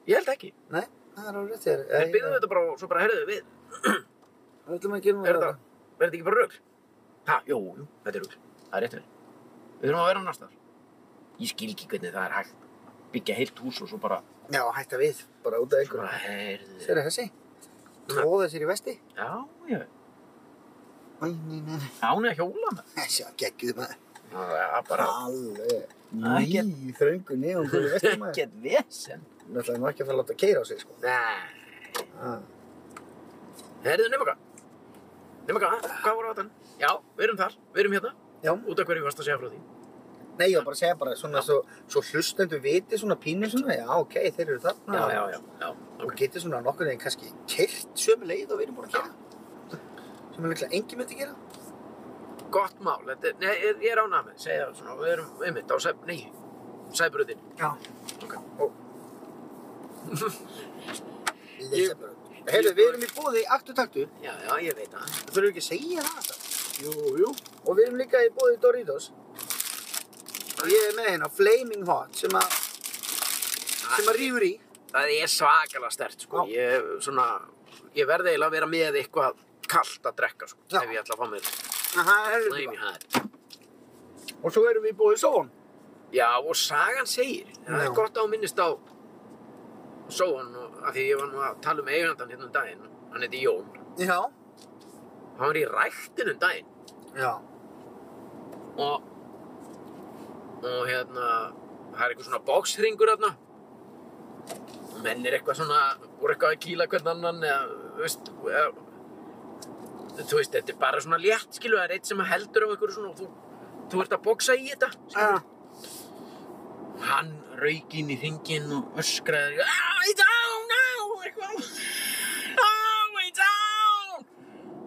[SPEAKER 2] Ég held ekki.
[SPEAKER 1] nei, það er alveg rétt þér.
[SPEAKER 2] Þeir byggðum þetta bara og svo bara, heyrðu við,
[SPEAKER 1] Við ætlum að gera nú
[SPEAKER 2] er þetta, er þetta ekki bara rugl? Ha, jú, jú, þetta er rugl. Það er rétt verið. Við þurfum að vera annars þar. Ég skil ekki hvernig það er hægt. byggja heilt hús og svo bara,
[SPEAKER 1] Já, hætta við, bara út af
[SPEAKER 2] svo bara,
[SPEAKER 1] einhverju.
[SPEAKER 2] heyrðu,
[SPEAKER 1] Sér þessi? Tróða sér í vesti?
[SPEAKER 2] já, já,
[SPEAKER 1] Æ, nei, nei, nei.
[SPEAKER 2] án að hjóla með.
[SPEAKER 1] Þessi að geggjuð maður.
[SPEAKER 2] Það er bara,
[SPEAKER 1] Alveg.
[SPEAKER 2] Ekki-
[SPEAKER 1] Ný, þröngu neðan í vesti maður.
[SPEAKER 2] ekkert vesen.
[SPEAKER 1] Náttúrulega nú ekki að fara að láta keira á sig, sko.
[SPEAKER 2] Nei,
[SPEAKER 1] Ah.
[SPEAKER 2] heyrðu, nema hvað, nema hvað, hvað voru á þann? Já, við erum þar, við erum hérna,
[SPEAKER 1] Já,
[SPEAKER 2] út af hverju varst að segja frá því.
[SPEAKER 1] nei, ég var bara að segja bara svona svo, svo hlustendur viti svona pínu svona, já, ok, þeir eru þarna.
[SPEAKER 2] Já, já, já, já,
[SPEAKER 1] Og
[SPEAKER 2] ok.
[SPEAKER 1] getur svona nokkur veginn kannski kert sömu leið og við erum búin að gera. Sem er líklega engin myndi gera.
[SPEAKER 2] Gott mál, þetta er, nei, ég ég er ánað með, segja það svona, við erum einmitt á sæb, nei, sæbrutin.
[SPEAKER 1] Já.
[SPEAKER 2] Ok.
[SPEAKER 1] Og... Leysa bara. Heyrðu, við erum í bóði í aktu taktu.
[SPEAKER 2] Já, já, ég veit það.
[SPEAKER 1] Þú þurfum ekki að segja það alltaf.
[SPEAKER 2] Jú, jú.
[SPEAKER 1] Og við erum líka í bóði Doritos. Og ég er með hérna Flaming Hot sem að, sem að rýfur í.
[SPEAKER 2] Það er svakalega stert, sko.
[SPEAKER 1] Já.
[SPEAKER 2] Ég, svona, ég verði eiginlega að vera með eitthvað kallt að drekka, sko.
[SPEAKER 1] Já.
[SPEAKER 2] Ef ég ætla að fá mér
[SPEAKER 1] Aha, heyrðu
[SPEAKER 2] næmi
[SPEAKER 1] bara.
[SPEAKER 2] hæðir.
[SPEAKER 1] Og svo erum við í bóði Són.
[SPEAKER 2] Já, og sagan segir. Það
[SPEAKER 1] Já.
[SPEAKER 2] er gott að hún minnist á Sóan, og- af því ég var nú að tala um eigandann hérna um daginn. Hann heiti Jón.
[SPEAKER 1] Já.
[SPEAKER 2] Hann var í ræktinu um daginn.
[SPEAKER 1] Já.
[SPEAKER 2] Og, og hérna, það er eitthvað svona bóksringur hérna. Og menn er eitthvað svona, voru eitthvað að kýla hvern annan eða, veist, eða, þú veist, þetta er bara svona létt, skilu, það er eitt sem heldur á einhverju svona og þú, þú ert að bóksa í þetta,
[SPEAKER 1] Já.
[SPEAKER 2] skilu. Hann rauk inn í ringinn og öskraði, ah, it's down now, eitthvað, ah, it's down.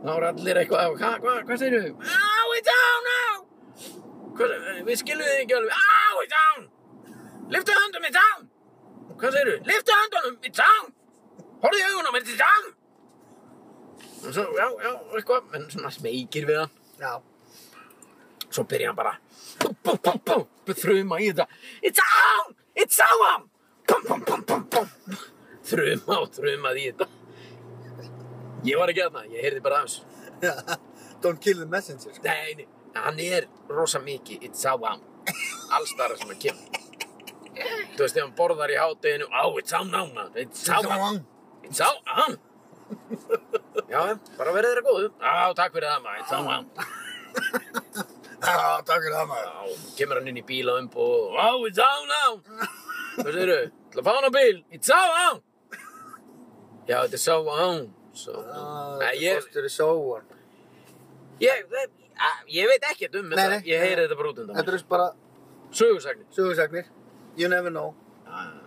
[SPEAKER 2] Þá voru allir eitthvað, hvað, hvað, hvað segir þau? Ah, it's down now. Hvað, við skilum þið ekki alveg, ah, it's down. Liftu höndum, it's down. Hvað segir þau? Liftu höndunum, it's down. Horfðu í augunum, it's down. Og svo, já, já, eitthvað, menn svona smekir við hann.
[SPEAKER 1] Já.
[SPEAKER 2] Svo byrja hann bara bú, bú, bú, bú, bú, Þruma í þetta It's on! It's on! Bum, bum, bum, bum, bum. Þruma og þrumaði í þetta Ég var ekki aðna, ég heyrði bara aðeins
[SPEAKER 1] Don't kill the messenger. sko.
[SPEAKER 2] Nei, nei, hann er rosa mikið It's on! Alls þar sem hann kemur Þú veist, ef hann borðar í hátteginu Á, it's on now, man It's on! It's on! Já, bara verið þeirra góðu Á, takk fyrir það, maður It's on!
[SPEAKER 1] Já, takk fyrir það maður.
[SPEAKER 2] Já, kemur hann inn í bíl á umbúð og Á, it's on now! Hvað segirðu? Til að fá hann á bíl? It's on! Já, þetta er so on. So on. Nei, ég,
[SPEAKER 1] Ah, Þetta er sóan.
[SPEAKER 2] ég, ég, ah, ég veit ekkert um
[SPEAKER 1] Nei,
[SPEAKER 2] þetta.
[SPEAKER 1] nei.
[SPEAKER 2] Ég heyri þetta bara út undan
[SPEAKER 1] Þetta
[SPEAKER 2] mér.
[SPEAKER 1] eru bara
[SPEAKER 2] Sögursagnir.
[SPEAKER 1] sögursagnir. You never know. Ah.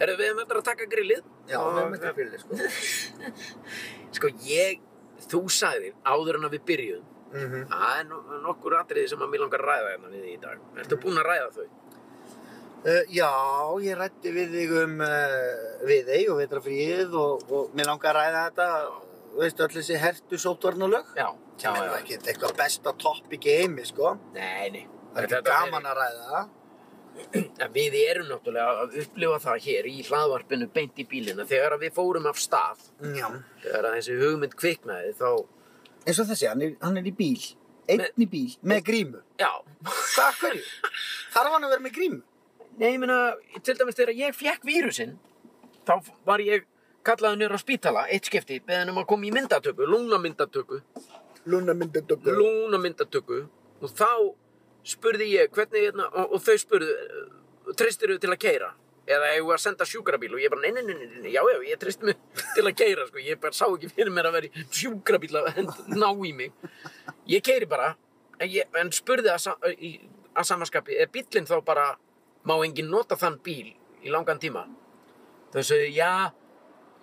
[SPEAKER 2] Erum við með þetta að taka grillið?
[SPEAKER 1] Já,
[SPEAKER 2] Og-
[SPEAKER 1] við erum eftir fyrir, sko.
[SPEAKER 2] Sko, ég, þú sagðir áður en að við byrjuðum.
[SPEAKER 1] Mhm.
[SPEAKER 2] Það er no- nokkur atriði sem að mér langar að ræða hérna við þig í dag. Ertu búinn að ræða þau?
[SPEAKER 1] Uh, já, ég rætti við þig um uh, við þig og vetrafríð og, og mér langar að ræða þetta, veistu, öll þessi hertu sóttvarnalög.
[SPEAKER 2] Já. Já,
[SPEAKER 1] Sem er nú
[SPEAKER 2] já.
[SPEAKER 1] ekkert eitthvað besta topic í heimi, sko.
[SPEAKER 2] Nei, nei.
[SPEAKER 1] Það er
[SPEAKER 2] Þetta
[SPEAKER 1] ekki gaman að ræða það.
[SPEAKER 2] En við erum náttúrulega að upplifa það hér í hlaðvarpinu beint í bílina þegar að við fórum af stað
[SPEAKER 1] Já.
[SPEAKER 2] þegar að þessi hugmynd kviknaði þá
[SPEAKER 1] Eins og þessi, hann er, hann er í bíl. Einn í bíl. Með grímu.
[SPEAKER 2] já,
[SPEAKER 1] Það er hverju? Þarf hann að vera með grímu?
[SPEAKER 2] nei, ég meina til dæmis þegar ég fekk vírusinn þá var ég kallaði nýra á spítala eitt skipti beðan um að koma í myndatöku lungna myndatöku,
[SPEAKER 1] Luna myndadöggur.
[SPEAKER 2] lungna myndatöku og þá spurði ég hvernig hérna og, og þau spurðu eh, treystirðu til að keira eða eigum við að senda sjúkrabíl og ég bara, nei, nei, nei, nei, nei, já, já, ég treyst mig til að keira, sko, ég bara sá ekki fyrir mér að vera í sjúkrabíl að hend- ná í mig ég keiri bara en, ég, en spurði að, sa- í- að samanskapi er bíllinn þá bara má enginn nota þann bíl í langan tíma þau sagði, já,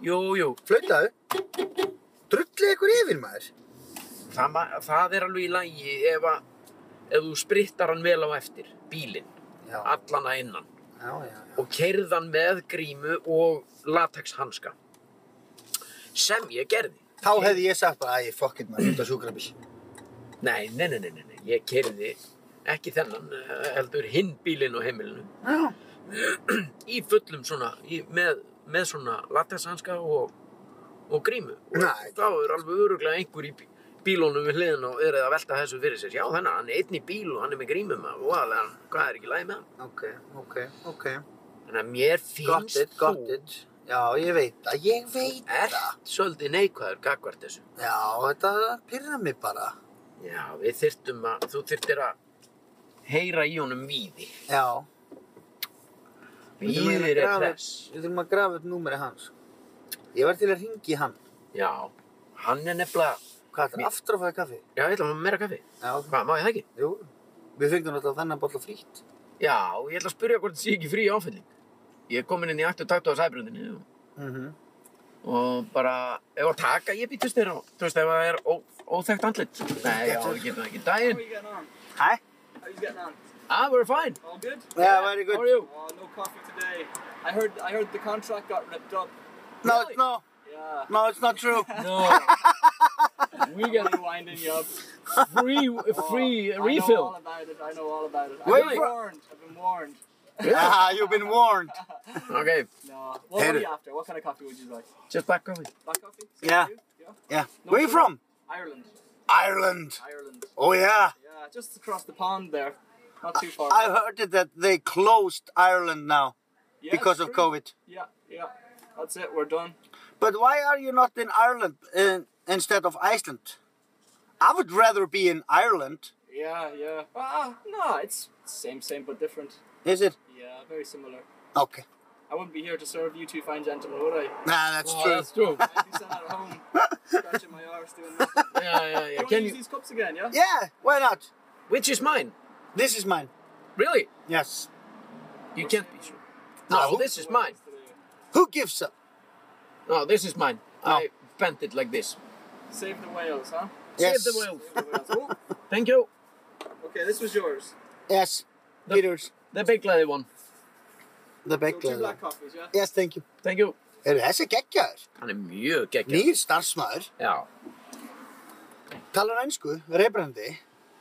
[SPEAKER 2] jú, jú
[SPEAKER 1] Flautaðu. Drullið ykkur yfir maður.
[SPEAKER 2] það, ma- það er alveg í lagi ef, að, ef þú sprittar hann vel á eftir bílinn,
[SPEAKER 1] Já,
[SPEAKER 2] allan að innan
[SPEAKER 1] já, já. já.
[SPEAKER 2] og keirðan með grímu og latexhanska sem ég gerði
[SPEAKER 1] Þá hefði ég sagt bara, æ, fuck it maður, út á sjúkrabíl.
[SPEAKER 2] nei, nei, nei, nei, nei, nei. ég keirði ekki þennan, eh, heldur hinn bílinn og heimilinu
[SPEAKER 1] Já.
[SPEAKER 2] í fullum svona, í, með, með svona latexhanska og, og grímu og
[SPEAKER 1] Nei.
[SPEAKER 2] þá er alveg öruglega einhver í bí- bílónum við hliðin og verið að velta þessu fyrir sér. Já, þannig að hann er einn í bíl og hann er með grímum og aðlega hann, hvað er ekki læg með hann?
[SPEAKER 1] Ok, ok, ok.
[SPEAKER 2] Þannig að mér
[SPEAKER 1] Got
[SPEAKER 2] finnst
[SPEAKER 1] it, got it. Já, ég veit það, ég veit
[SPEAKER 2] ert
[SPEAKER 1] það.
[SPEAKER 2] svolítið neikvæður gagvart þessu.
[SPEAKER 1] Já, þetta pyrra mig bara.
[SPEAKER 2] Já, við þyrftum að, þú þyrftir að heyra í honum víði.
[SPEAKER 1] Já. Við þurfum eiginlega
[SPEAKER 2] Víðir
[SPEAKER 1] að
[SPEAKER 2] er
[SPEAKER 1] grafa-
[SPEAKER 2] hress.
[SPEAKER 1] Við þurfum að grafa upp númeri hans. Ég var til að ringi hann.
[SPEAKER 2] Já, hann er nefnilega,
[SPEAKER 1] Hvað er
[SPEAKER 2] Mér-
[SPEAKER 1] það? Aftur að fæða kaffi?
[SPEAKER 2] já, ég ætla að fá mér meira kaffi.
[SPEAKER 1] Já, ok.
[SPEAKER 2] Hvað, má ég það ekki?
[SPEAKER 1] Jú. Við fengum náttúrulega þennan bolla frítt.
[SPEAKER 2] Já, ég ætla að spyrja hvort það sé ekki frí áfælling. Ég er komin inn í aktu taktu á sæbröndinni og
[SPEAKER 1] Mm
[SPEAKER 2] og bara, ef að taka, ég býtist þér á, þú veist, ef það er ó, óþekkt andlit. Nei, já, við getum það ekki.
[SPEAKER 4] How are
[SPEAKER 2] Daginn,
[SPEAKER 4] you getting on?
[SPEAKER 1] Hæ?
[SPEAKER 4] How are you getting on?
[SPEAKER 2] ah, we're fine.
[SPEAKER 4] All good?
[SPEAKER 1] Yeah, very good.
[SPEAKER 2] How are you?
[SPEAKER 4] Oh, no coffee today. I heard I heard the contract got ripped up.
[SPEAKER 1] No,
[SPEAKER 2] Really?
[SPEAKER 1] no,
[SPEAKER 4] Yeah.
[SPEAKER 1] no, it's not true.
[SPEAKER 2] No, we get
[SPEAKER 4] Really winding you up.
[SPEAKER 2] free,
[SPEAKER 4] Oh,
[SPEAKER 2] free
[SPEAKER 4] I know all
[SPEAKER 2] refill.
[SPEAKER 4] about it. I know all about it.
[SPEAKER 1] Wait
[SPEAKER 4] I've been
[SPEAKER 1] for-
[SPEAKER 4] warned. I've been warned.
[SPEAKER 1] ah, you've been warned.
[SPEAKER 2] Okay,
[SPEAKER 4] No. What
[SPEAKER 1] Hit
[SPEAKER 4] are
[SPEAKER 1] it.
[SPEAKER 4] you after? What kind of coffee would you like?
[SPEAKER 2] just back coffee.
[SPEAKER 4] Black coffee? Same
[SPEAKER 1] Yeah.
[SPEAKER 4] to you? Yeah.
[SPEAKER 1] Yeah.
[SPEAKER 4] No
[SPEAKER 1] Where are you
[SPEAKER 4] problem.
[SPEAKER 1] from?
[SPEAKER 4] Ireland.
[SPEAKER 1] Ireland.
[SPEAKER 4] Ireland.
[SPEAKER 1] Oh yeah.
[SPEAKER 4] Yeah, just across the pond there. Not too far.
[SPEAKER 1] I heard it that they closed Ireland now
[SPEAKER 4] Yeah,
[SPEAKER 1] because of
[SPEAKER 4] it's true.
[SPEAKER 1] COVID.
[SPEAKER 4] Yeah, yeah. That's it. We're done.
[SPEAKER 1] But why are you not in Ireland in, instead of Iceland? I would rather be in Ireland.
[SPEAKER 4] Yeah, yeah. Ah, no, it's same, same, but different.
[SPEAKER 1] Is it?
[SPEAKER 4] Yeah, very similar.
[SPEAKER 1] Okay.
[SPEAKER 4] I wouldn't be here to serve you two fine gentlemen, would I?
[SPEAKER 1] Nah, that's
[SPEAKER 2] Oh,
[SPEAKER 1] true.
[SPEAKER 2] That's true.
[SPEAKER 4] I'd be sat at home, scratching my arse doing nothing.
[SPEAKER 2] Yeah, yeah, yeah.
[SPEAKER 4] You
[SPEAKER 2] Can
[SPEAKER 4] Can use
[SPEAKER 2] you,
[SPEAKER 4] these cups again, yeah?
[SPEAKER 1] Yeah, why not?
[SPEAKER 2] which is mine?
[SPEAKER 1] This is mine.
[SPEAKER 2] Really?
[SPEAKER 1] Yes.
[SPEAKER 2] You can't be sure. No,
[SPEAKER 1] No.
[SPEAKER 2] this is mine.
[SPEAKER 1] Who gives up?
[SPEAKER 2] No, this is mine. I bent it like this.
[SPEAKER 4] Save the whales, huh?
[SPEAKER 1] Yes.
[SPEAKER 2] Save the whales.
[SPEAKER 4] Save the whales.
[SPEAKER 2] Thank you.
[SPEAKER 4] Oh, okay, this was yours.
[SPEAKER 1] Yes.
[SPEAKER 2] The-
[SPEAKER 1] Peters,
[SPEAKER 2] The big lady one.
[SPEAKER 1] the
[SPEAKER 4] So
[SPEAKER 1] back
[SPEAKER 4] two
[SPEAKER 1] there.
[SPEAKER 4] black coffees, yeah?
[SPEAKER 1] Yes, thank you.
[SPEAKER 2] Thank you.
[SPEAKER 1] Eru þessi geggjaður?
[SPEAKER 2] Hann er mjög geggjað.
[SPEAKER 1] Nýr starfsmæður,
[SPEAKER 2] Já.
[SPEAKER 1] talar einsku, reybrandi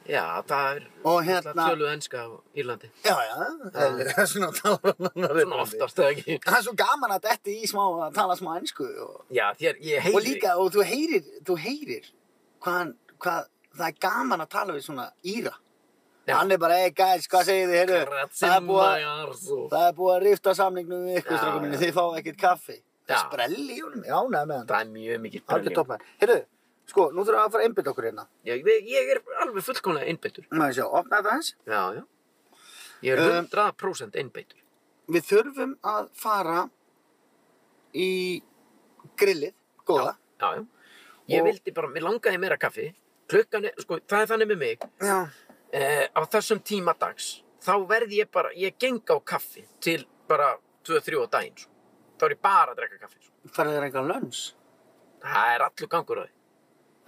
[SPEAKER 2] Já, það er
[SPEAKER 1] og
[SPEAKER 2] hérna.
[SPEAKER 1] hérna...
[SPEAKER 2] tjöluð enska á Írlandi.
[SPEAKER 1] Já, já, það
[SPEAKER 2] Uh,
[SPEAKER 1] er- það er svona talar hann
[SPEAKER 2] Svona oftast eða ekki.
[SPEAKER 1] Það er svo gaman að detti í smá að tala smá einsku og,
[SPEAKER 2] Já, þér, ég heyri.
[SPEAKER 1] og líka, og þú heyrir, þú heyrir hvað, hann- hvað, það er gaman að tala við svona íra.
[SPEAKER 2] Já.
[SPEAKER 1] Hann er bara, hey guys, hvað segir þið, heyrðu, það er búið að...
[SPEAKER 2] búið.
[SPEAKER 1] Það er búið að rifta samningnum við ykkur,
[SPEAKER 2] Já,
[SPEAKER 1] strákum minni,
[SPEAKER 2] já.
[SPEAKER 1] þið fá ekkert kaffi. Það
[SPEAKER 2] Já.
[SPEAKER 1] sprelli í honum, já, neða með hann.
[SPEAKER 2] Það er mjög mikið
[SPEAKER 1] Allir toppar. Heyrðu, sko, nú þurfum við að fara að einbytta okkur hérna.
[SPEAKER 2] Ég, ég er alveg fullkomlega einbeittur.
[SPEAKER 1] Má ég sjá, opna þetta hans.
[SPEAKER 2] Já, já. Ég er
[SPEAKER 1] Um,
[SPEAKER 2] 100% einbeittur.
[SPEAKER 1] Við þurfum að fara í grillið, góða.
[SPEAKER 2] Já, já. Ég
[SPEAKER 1] Og-
[SPEAKER 2] vildi bara, mér langaði meira kaffi. Klukkan er, sko, það er þannig með mig.
[SPEAKER 1] Já.
[SPEAKER 2] Eh, á þessum tíma dags, þá verði ég bara, ég geng á kaffi til bara 2-3 á daginn, svo. Þá er ég bara að drekka kaffi, svo.
[SPEAKER 1] Færðu þér einhvern lönns?
[SPEAKER 2] Það er allur gangur á því.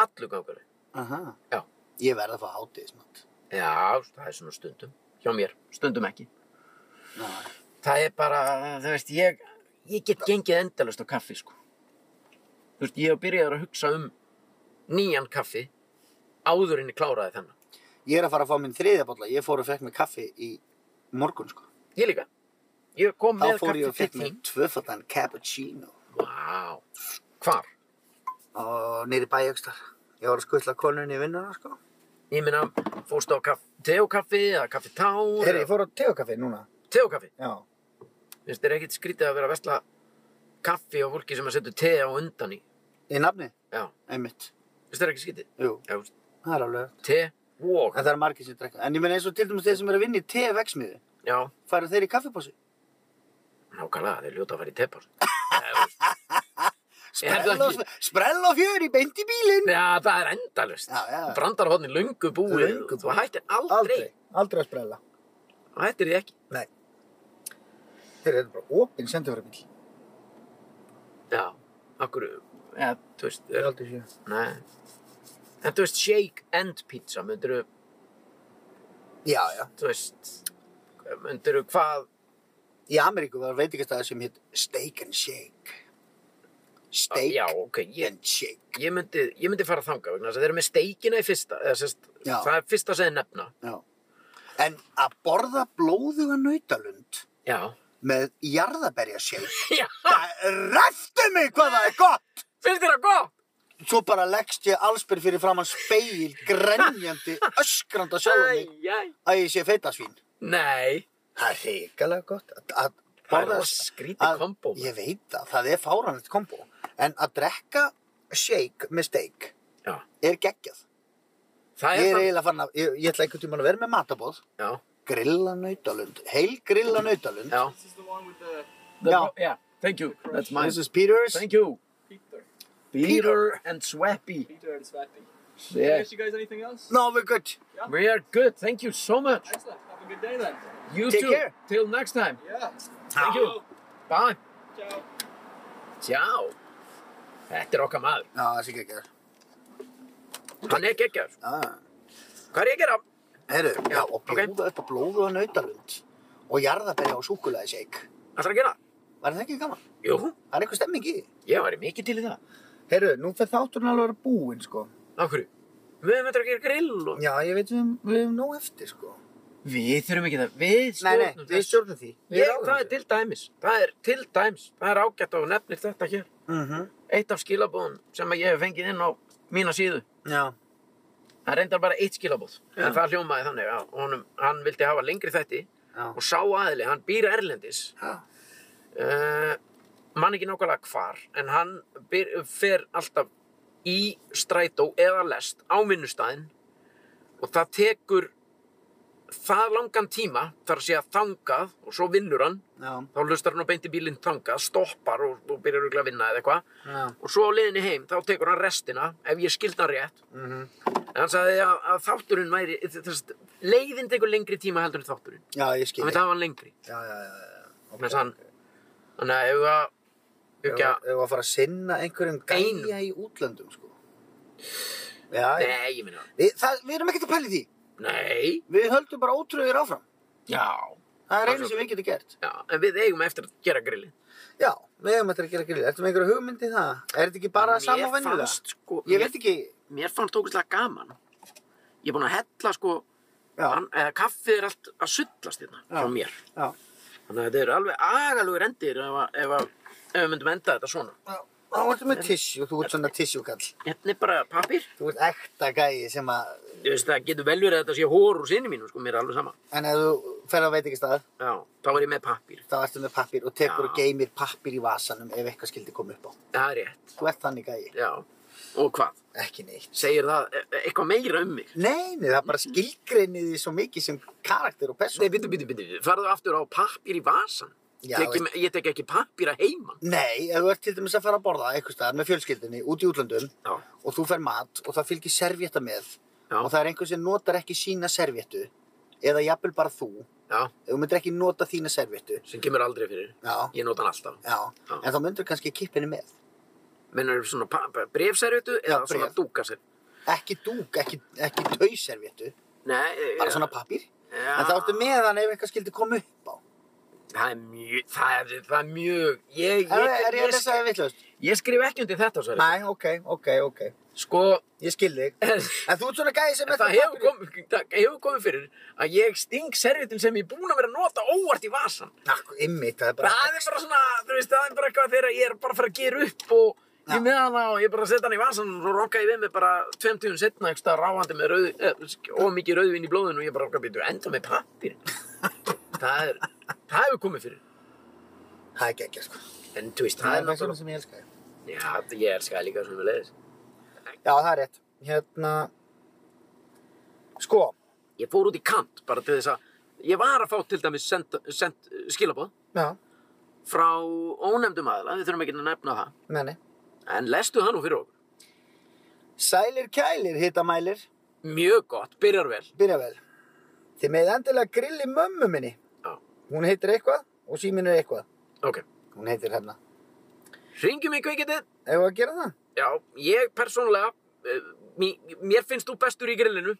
[SPEAKER 2] Allur gangur á því.
[SPEAKER 1] Aha.
[SPEAKER 2] Já.
[SPEAKER 1] Ég verð að fá hátíðismat.
[SPEAKER 2] Já, það er svona stundum. Hjá mér, stundum ekki.
[SPEAKER 1] Já.
[SPEAKER 2] það er bara, þú veist, ég, ég get gengið endalust á kaffi, sko. Þú veist, ég hef byrjaður að hugsa um nýjan kaffi áður en ég kláraði þennan.
[SPEAKER 1] Ég er að fara að fá minn þriðja bolla. Ég fór og fekk mig kaffi í morgun, sko.
[SPEAKER 2] Ég líka. Ég kom
[SPEAKER 1] Þá
[SPEAKER 2] með
[SPEAKER 1] fór
[SPEAKER 2] kaffi
[SPEAKER 1] ég og fekk
[SPEAKER 2] til
[SPEAKER 1] mig
[SPEAKER 2] þín.
[SPEAKER 1] tvöfaldan cappuccino.
[SPEAKER 2] Vá. Hvar?
[SPEAKER 1] Og neyri bæjögstar. Ég var að skuttla konunni í vinnuna, sko.
[SPEAKER 2] Ég meina, fórstu á kaff, teokaffi eða kaffi tár?
[SPEAKER 1] Heyrðu, ég fór á tegakaffi núna.
[SPEAKER 2] Teokaffi.
[SPEAKER 1] Já.
[SPEAKER 2] Þú veist, það er ekkit skrítið að vera að vesla kaffi á fólki sem að setja te á undan í.
[SPEAKER 1] Í nafni?
[SPEAKER 2] Já.
[SPEAKER 1] Einmitt.
[SPEAKER 2] Þú veist, það er ekki skrítið.
[SPEAKER 1] Jú,
[SPEAKER 2] Já, þú veist,
[SPEAKER 1] það er alveg.
[SPEAKER 2] te og.
[SPEAKER 1] En það er margir sem drekka. En ég meina eins og til dæmis þeir sem eru að vinna í te-veksmiðu,
[SPEAKER 2] Já,
[SPEAKER 1] fara þeir í kaffipásu?
[SPEAKER 2] nákvæmlega, þeir ljóta að fara í tepás. Já, þú veist. Ég held
[SPEAKER 1] Sprell og,
[SPEAKER 2] ekki.
[SPEAKER 1] sprell og fjör í beint í bílinn!
[SPEAKER 2] Já, það er endalust.
[SPEAKER 1] Já, já.
[SPEAKER 2] Brandarhóðni löngu búið.
[SPEAKER 1] Löngu
[SPEAKER 2] Þú
[SPEAKER 1] búið.
[SPEAKER 2] hættir aldrei.
[SPEAKER 1] aldrei að sprella.
[SPEAKER 2] Þú hættir því ekki.
[SPEAKER 1] Þeir eru bara opinn sendifærabíl.
[SPEAKER 2] Já, okkur, ja, þú veist,
[SPEAKER 1] Ég
[SPEAKER 2] er,
[SPEAKER 1] aldrei séu.
[SPEAKER 2] nei. En þú veist, shake and pizza, myndirðu,
[SPEAKER 1] Já, já.
[SPEAKER 2] þú veist, myndirðu hvað,
[SPEAKER 1] Í Ameríku var veitingastæði sem hitt Steak and Shake. Steak
[SPEAKER 2] já, ok, ég,
[SPEAKER 1] and Shake.
[SPEAKER 2] ég, myndi, ég myndi fara þangað vegna þess að þeir eru með steikina í fyrsta, eða sérst,
[SPEAKER 1] Já.
[SPEAKER 2] það er fyrsta sem þeir nefna.
[SPEAKER 1] Já. En að borða blóðuga nautalund
[SPEAKER 2] Já.
[SPEAKER 1] með jarðaberja shake,
[SPEAKER 2] Já,
[SPEAKER 1] það ræftu mig hvað það er gott!
[SPEAKER 2] finnst þér það gott?
[SPEAKER 1] svo bara leggst ég allsbyrð fyrir framann speil, grenjandi, öskranda sjálf mig
[SPEAKER 2] æj.
[SPEAKER 1] að ég sé feitasvín.
[SPEAKER 2] Nei.
[SPEAKER 1] Það er reikalega gott að, að
[SPEAKER 2] Það er
[SPEAKER 1] borða-
[SPEAKER 2] rosa skrítið
[SPEAKER 1] að-
[SPEAKER 2] kombó, maður.
[SPEAKER 1] Ég veit það, það er fáranlegt kombo. En að drekka shake með steak
[SPEAKER 2] Já.
[SPEAKER 1] er geggjað.
[SPEAKER 2] Það
[SPEAKER 1] Ég
[SPEAKER 2] er
[SPEAKER 1] er
[SPEAKER 2] þannig.
[SPEAKER 1] eiginlega fann að, ég, ég ætla einhvern tímann að vera með matabóð.
[SPEAKER 2] Já.
[SPEAKER 1] Grilla nautalund, heil grilla nautalund.
[SPEAKER 2] Já.
[SPEAKER 4] This is the one with the
[SPEAKER 2] The-
[SPEAKER 1] Já.
[SPEAKER 2] Yeah. Thank you. That's mine.
[SPEAKER 1] This is Peters.
[SPEAKER 2] Thank you.
[SPEAKER 4] Peter.
[SPEAKER 2] Peter and Swappy.
[SPEAKER 4] Peter and Swappy. Can I
[SPEAKER 2] Yeah.
[SPEAKER 4] ask you guys anything else?
[SPEAKER 1] No, we're good.
[SPEAKER 2] We are good. Thank you so much.
[SPEAKER 4] Excellent. Have a good day then.
[SPEAKER 2] You
[SPEAKER 1] Take
[SPEAKER 2] too.
[SPEAKER 1] care.
[SPEAKER 2] Till next time.
[SPEAKER 4] Yeah.
[SPEAKER 2] Thank you. Bye.
[SPEAKER 4] Ciao.
[SPEAKER 2] Tjá. Þetta er okkar maður.
[SPEAKER 1] Já, það sé geggjað.
[SPEAKER 2] Hann er geggjaður.
[SPEAKER 1] Ah.
[SPEAKER 2] Hvað er ég að gera?
[SPEAKER 1] Herru, já,
[SPEAKER 2] Já,
[SPEAKER 1] og
[SPEAKER 2] ok.
[SPEAKER 1] bjóða upp á blóðu og nautalund og jarðabæri á súkulaði shake.
[SPEAKER 2] Ætlar að gera? það?
[SPEAKER 1] Var það ekki gaman?
[SPEAKER 2] Jú,
[SPEAKER 1] Það er eitthvað stemming í. því.
[SPEAKER 2] ég væri mikið til í það.
[SPEAKER 1] Herru, nú fer þátturinn alveg að vera búinn, sko.
[SPEAKER 2] Af hverju? Við höfum eftir að gera grill og...
[SPEAKER 1] Já, ég veit við, við höfum nóg eftir, sko.
[SPEAKER 2] Við þurfum ekki það. Við
[SPEAKER 1] Nei,
[SPEAKER 2] stjórnum
[SPEAKER 1] nei, við stjórnum því. Við
[SPEAKER 2] Ég,
[SPEAKER 1] ráðum
[SPEAKER 2] það er
[SPEAKER 1] þessu.
[SPEAKER 2] til dæmis. Það er til dæmis. Það er ágætt að þú nefnir þetta hér.
[SPEAKER 1] Mhm,
[SPEAKER 2] Eitt af skilabóðum sem að ég hef fengið inn á mína síðu.
[SPEAKER 1] já.
[SPEAKER 2] Það er reyndar bara eitt skilabóð.
[SPEAKER 1] Já.
[SPEAKER 2] En það hljómaði þannig að honum, hann vildi hafa lengri þætti
[SPEAKER 1] Já.
[SPEAKER 2] og sá aðili, hann býr erlendis.
[SPEAKER 1] Já.
[SPEAKER 2] Uh, mann ekki nákvæmlega hvar, en hann byr, fer alltaf í strætó eða lest á vinnustæðin og það tekur það langan tíma þar að segja þangað og svo vinnur hann
[SPEAKER 1] Já,
[SPEAKER 2] þá lustar hann á beinti bílinn þangað, stoppar og, og byrjar örugglega að vinna eða eitthvað
[SPEAKER 1] já.
[SPEAKER 2] og svo á leiðinni heim þá tekur hann restina ef ég skildi hann rétt
[SPEAKER 1] Mhm.
[SPEAKER 2] en hann sagði að, að þátturinn væri þess, leiðin tekur lengri tíma heldur en þátturinn
[SPEAKER 1] Já, ég skil.
[SPEAKER 2] hann vil hafa hann lengri
[SPEAKER 1] Já, já, já, já. Ok.
[SPEAKER 2] Þannig að hann- þannig að ef að ef ekki
[SPEAKER 1] Ef
[SPEAKER 2] að
[SPEAKER 1] við að fara að sinna einhverjum
[SPEAKER 2] Einum.
[SPEAKER 1] gæja í útlöndum, sko. Já, já.
[SPEAKER 2] nei, ég minna
[SPEAKER 1] Við, það, við erum ekkert að pæli því.
[SPEAKER 2] nei,
[SPEAKER 1] Við höldum bara ótröðir áfram.
[SPEAKER 2] já,
[SPEAKER 1] Það er
[SPEAKER 2] Það er
[SPEAKER 1] einu
[SPEAKER 2] svo-
[SPEAKER 1] sem við getum gert.
[SPEAKER 2] já en við eigum eftir að gera grillin
[SPEAKER 1] Já, við hefum eftir að gera grill. Ertu með einhverja hugmynd í það? Er þetta ekki bara sama og venjulega?
[SPEAKER 2] sko,
[SPEAKER 1] Ég veit ekki,
[SPEAKER 2] mér fannst ógustlega gaman ég er búin að hella sko
[SPEAKER 1] já,
[SPEAKER 2] hann, eða, kaffið er allt að sullast hérna
[SPEAKER 1] Já.
[SPEAKER 2] hjá mér
[SPEAKER 1] já,
[SPEAKER 2] Þannig að þetta eru alveg agalugur endir ef, að- ef, að- ef við myndum enda þetta svona.
[SPEAKER 1] þá ertu með tissjú, þú ert svona tissjúkall.
[SPEAKER 2] Hérna er bara pappir.
[SPEAKER 1] Þú ert ekta gæi sem að,
[SPEAKER 2] Þú veist, það getur vel verið að þetta sé hór úr sinni mínu, sko, mér er alveg sama.
[SPEAKER 1] en ef þú fer að veit ekki stað,
[SPEAKER 2] Já, þá er ég með pappir.
[SPEAKER 1] þá ertu með pappir og tekur
[SPEAKER 2] Já.
[SPEAKER 1] og geymir pappir í vasanum ef eitthvað skildi koma upp á.
[SPEAKER 2] Það er rétt,
[SPEAKER 1] Þú ert þannig gæi,
[SPEAKER 2] já. Og hvað?
[SPEAKER 1] ekki neitt.
[SPEAKER 2] Segir það e- e- eitthvað meira um mig?
[SPEAKER 1] Nei, nei, það er
[SPEAKER 2] Mhm.
[SPEAKER 1] bara skilgreinið því svo mikið sem karakter og
[SPEAKER 2] Nei,
[SPEAKER 1] persón.
[SPEAKER 2] byrju, byrju, byrju, farðu aftur á pappir í vasan.
[SPEAKER 1] Já,
[SPEAKER 2] Teki, ég tek ekki pappir að heiman.
[SPEAKER 1] Nei, ef þú ert til dæmis að fara að borða eitthvað staðar með fjölskyldinni út í útlöndum
[SPEAKER 2] Já,
[SPEAKER 1] og þú fer mat og það fylgir servétta með
[SPEAKER 2] já,
[SPEAKER 1] og það er einhver sem notar ekki sína servéttu eða jafnvel bara þú ef
[SPEAKER 2] já,
[SPEAKER 1] þú myndir ekki nota þína servéttu
[SPEAKER 2] sem kemur aldrei fyrir.
[SPEAKER 1] já,
[SPEAKER 2] Ég nota hann alltaf.
[SPEAKER 1] já,
[SPEAKER 2] Já.
[SPEAKER 1] en þá myndir kannski kippinu með
[SPEAKER 2] Mennur svona brefservitu
[SPEAKER 1] Já,
[SPEAKER 2] eða svona
[SPEAKER 1] bréf.
[SPEAKER 2] dúkaservitu.
[SPEAKER 1] ekki dúk, ekki, ekki tauservéttu
[SPEAKER 2] Nei, e-
[SPEAKER 1] bara svona pappír
[SPEAKER 2] Já.
[SPEAKER 1] en þá ertu með hann ef eitthvað skildi koma upp á
[SPEAKER 2] Það er mjög, það er, það er mjög, ég, ég,
[SPEAKER 1] er, er ég
[SPEAKER 2] ég,
[SPEAKER 1] að lesa það vitlaust?
[SPEAKER 2] ég skrif ekki undir þetta, Sverri.
[SPEAKER 1] Nei, ok, ok, ok
[SPEAKER 2] Sko,
[SPEAKER 1] ég skil þig
[SPEAKER 2] en,
[SPEAKER 1] en þú ert svona gæði sem
[SPEAKER 2] en það hefur komið, það hefur komið fyrir að ég sting servitin sem ég er búinn að vera að nota óvart í vasan.
[SPEAKER 1] komið ymmið, það er bara
[SPEAKER 2] það er bara svona, þú veist, það er bara eitthvað þegar ég er bara að fara að gera upp og
[SPEAKER 1] Já.
[SPEAKER 2] ég með hana og ég bara setja hana í vasan og svo rokka ég við mig bara 20 setna eitthvað ráhandi með rauð, eh, ómikið rauðvin í blóðinu og ég bara okkar býtu enda með pappir. það er, það hefur komið fyrir.
[SPEAKER 1] það er geggja sko
[SPEAKER 2] En þú veist,
[SPEAKER 1] það
[SPEAKER 2] það
[SPEAKER 1] er
[SPEAKER 2] er
[SPEAKER 1] það
[SPEAKER 2] náttúrulega...
[SPEAKER 1] svona sem ég elska já,
[SPEAKER 2] Já, ég elska það líka sem við leiðis.
[SPEAKER 1] það er rétt hérna sko,
[SPEAKER 2] Ég fór út í kant bara til þess að ég var að fá til dæmis send, send, skilabóð
[SPEAKER 1] já,
[SPEAKER 2] frá ónefndum aðila, við þurfum ekki að nefna það.
[SPEAKER 1] menni
[SPEAKER 2] En lestu það nú fyrir okkur.
[SPEAKER 1] Sælir kælir hittamælir,
[SPEAKER 2] Mjög gott, byrjar vel.
[SPEAKER 1] byrja vel. Þið með endilega grilli mömmu minni.
[SPEAKER 2] Já.
[SPEAKER 1] Hún heitir eitthvað og síminn er eitthvað.
[SPEAKER 2] Ok,
[SPEAKER 1] Hún heitir hérna.
[SPEAKER 2] ringjum í kvikitið.
[SPEAKER 1] Ef að gera það?
[SPEAKER 2] Já, ég persónulega, eh, mí- mér finnst þú bestur í grillinu.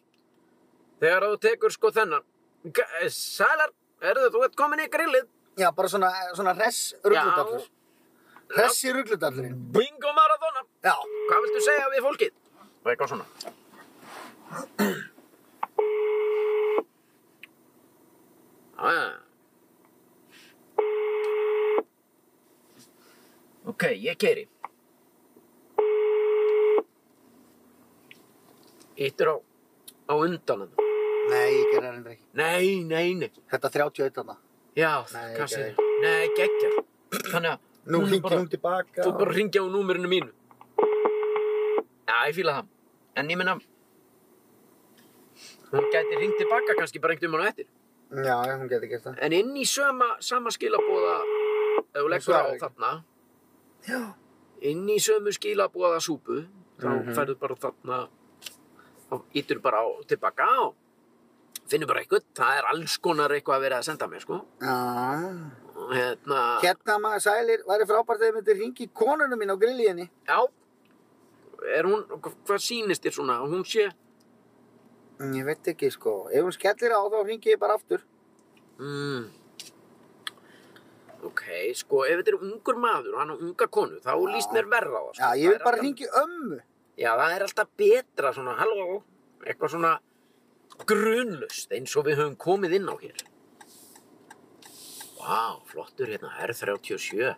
[SPEAKER 2] Þegar þú tekur sko þennan. G- eh, Sælar, erðu þú ert komin í grillið?
[SPEAKER 1] Já, bara svona, svona hress rugludallur. Hressi rugludallurinn.
[SPEAKER 2] Bingo marathona.
[SPEAKER 1] Já.
[SPEAKER 2] Hvað viltu segja við fólkið? Og eitthvað svona. Já, já. Ok, ég keiri. Íttir á, á undan hann.
[SPEAKER 1] Nei, ég gerði það reyndar ekki.
[SPEAKER 2] Nei, nei, nei.
[SPEAKER 1] Þetta 31 þarna.
[SPEAKER 2] Já,
[SPEAKER 1] Nei,
[SPEAKER 2] hvað segir
[SPEAKER 1] geggjað.
[SPEAKER 2] þú? Nei, geggjað. Þannig að
[SPEAKER 1] Nú
[SPEAKER 2] Hún er
[SPEAKER 1] hringir
[SPEAKER 2] bara-
[SPEAKER 1] hún tilbaka.
[SPEAKER 2] þú bara ringja á númerinu mínu. Já, ég fíla það. En ég meina, hún gæti ringt tilbaka kannski bara einhvern veginn á eftir.
[SPEAKER 1] Já, já, hún getur gert það.
[SPEAKER 2] En inn í sama, sama skilabóða, ef þú leggur á
[SPEAKER 1] svarar ekki.
[SPEAKER 2] þarna,
[SPEAKER 1] Já.
[SPEAKER 2] inn í sömu skilabóða súpu, þá
[SPEAKER 1] Mhm.
[SPEAKER 2] færðu bara þarna, þá ítur bara á tilbaka og finnur bara eitthvað. Það er alls konar eitthvað að vera að senda mér, sko.
[SPEAKER 1] Ah.
[SPEAKER 2] Og Hérna,
[SPEAKER 1] Hérna maður sælir, væri frábært að þið myndir hringi konunum mín á grillíðinni.
[SPEAKER 2] Já, er hún, hva- hvað sýnist þér svona? Hún sé,
[SPEAKER 1] Mm, Ég veit ekki sko, ef hún skellir á þá hringi ég bara aftur.
[SPEAKER 2] mm, ok, sko, ef þetta er ungur maður og hann á unga konu, þá líst mér verra á það. Sko.
[SPEAKER 1] Já, ég
[SPEAKER 2] Það
[SPEAKER 1] vil
[SPEAKER 2] er
[SPEAKER 1] bara
[SPEAKER 2] alltaf,
[SPEAKER 1] hringi ömmu.
[SPEAKER 2] Já, það er alltaf betra svona, halló, eitthvað svona grunlust eins og við höfum komið inn á hér. Vá, flottur hérna, R37,
[SPEAKER 1] Ég er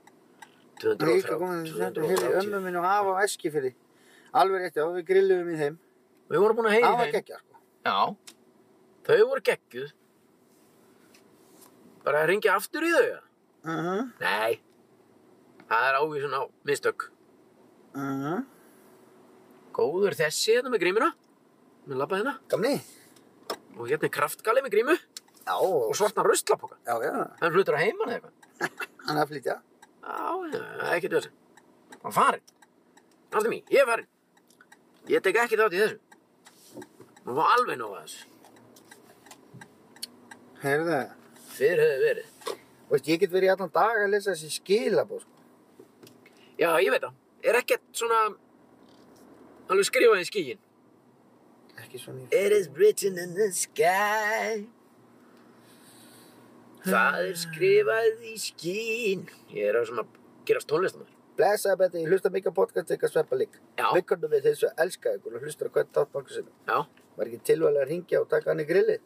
[SPEAKER 1] ekki komin að þetta hefði ömmu
[SPEAKER 2] 230.
[SPEAKER 1] minn og afa á Eskifirði. Alveg rétti, þá við grilluðum í þeim.
[SPEAKER 2] Við vorum búin að heyra
[SPEAKER 1] Það
[SPEAKER 2] í
[SPEAKER 1] var
[SPEAKER 2] þeim.
[SPEAKER 1] geggja sko.
[SPEAKER 2] Já, þau voru geggjuð. Bara að ringja aftur í þau? eða?
[SPEAKER 1] Mhm,
[SPEAKER 2] Nei, það er ávísun á mistök.
[SPEAKER 1] mhm.
[SPEAKER 2] Góður þessi hérna með grímuna, með labba hérna.
[SPEAKER 1] Gamli?
[SPEAKER 2] Og hérna er kraftgali með grímu
[SPEAKER 1] Já,
[SPEAKER 2] og svartna ruslapoka.
[SPEAKER 1] já, já,
[SPEAKER 2] Hann flutur á heimann eða eitthvað.
[SPEAKER 1] hann er að flytja.
[SPEAKER 2] Já, já, það er ekkert þessi. Hann farinn. Alltaf mín, ég er farinn. Ég tek ekki þátt í þessu. Nú var alveg nóg að þessu.
[SPEAKER 1] Heyrðu,
[SPEAKER 2] Fyrr hefði verið.
[SPEAKER 1] veist, ég get verið í allan dag að lesa þessi skilabóð sko.
[SPEAKER 2] Já, ég veit það. Er ekkert svona... Alveg skrifað í skíin.
[SPEAKER 1] Ekki svona í...
[SPEAKER 2] It is written in the sky Það er skrifað í skín Ég er að svona gerast tónlistamæður
[SPEAKER 1] Blessaði Betty, ég hlusta mikið á podcast ykkar sveppa lík.
[SPEAKER 2] Já,
[SPEAKER 1] Vikkundu við þessu elska ykkur og hlustur á hvern þátt nokkuð sinni.
[SPEAKER 2] já,
[SPEAKER 1] Var ekki tilvægilega að ringja og taka hann í grillið?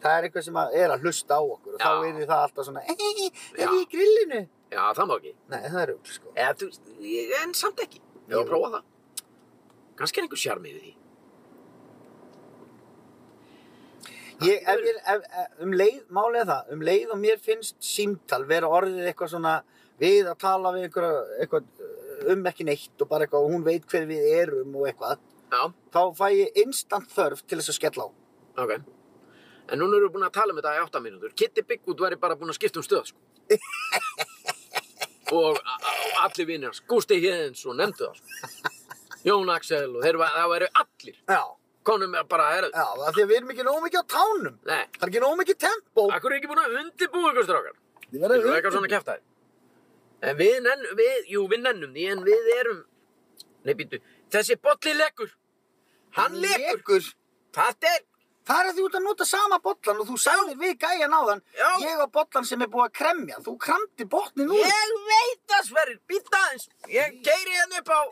[SPEAKER 1] Það er eitthvað sem að er að hlusta á okkur og
[SPEAKER 2] Já.
[SPEAKER 1] þá er það alltaf svona Ei, er ég
[SPEAKER 2] Já.
[SPEAKER 1] í grillinu?
[SPEAKER 2] já, það má ekki
[SPEAKER 1] Nei, það er auðvitað sko.
[SPEAKER 2] Eða, þú, veist, ég- En samt ekki Ég var að prófa það Kannski er einhver sjarmi við því
[SPEAKER 1] Ég, ef ég, ef, ef, um leið, málið er það, um leið og mér finnst símtal vera orðið eitthvað svona við að tala við einhver, eitthvað um ekki neitt og bara eitthvað og hún veit hver við erum og eitthvað
[SPEAKER 2] Já,
[SPEAKER 1] þá fæ ég instant þörf til þess að skella á.
[SPEAKER 2] ok En núna erum við búin að tala um þetta í átta mínútur Kitty Bigwood væri bara búin að skipta um stöð sko. Og a- a- allir vinnir hans Gústi Hjeðins og nefndu það sko. Jón Axel og þeir, væ- það væri allir
[SPEAKER 1] Já,
[SPEAKER 2] konum er bara er,
[SPEAKER 1] já, af því að við erum ekki nóg mikið á tánum.
[SPEAKER 2] nei,
[SPEAKER 1] Það er ekki nóg mikið tempó.
[SPEAKER 2] akkur er ekki búin að undirbúa ykkur strákar
[SPEAKER 1] Þið
[SPEAKER 2] það
[SPEAKER 1] verða
[SPEAKER 2] er eitthvað svona kæftæði en við, nenn, við, jú, við nennum því en við erum nei, býtu, þessi bolli lekur hann lekur, það er
[SPEAKER 1] Það er að þú ert að nota sama bollan og þú sagðir við gæjan á þann
[SPEAKER 2] Já.
[SPEAKER 1] Ég á bollan sem er búið að kremja Þú kramdi botnin úr
[SPEAKER 2] ég veit það sverrir, býta aðeins ég keiri hérna upp á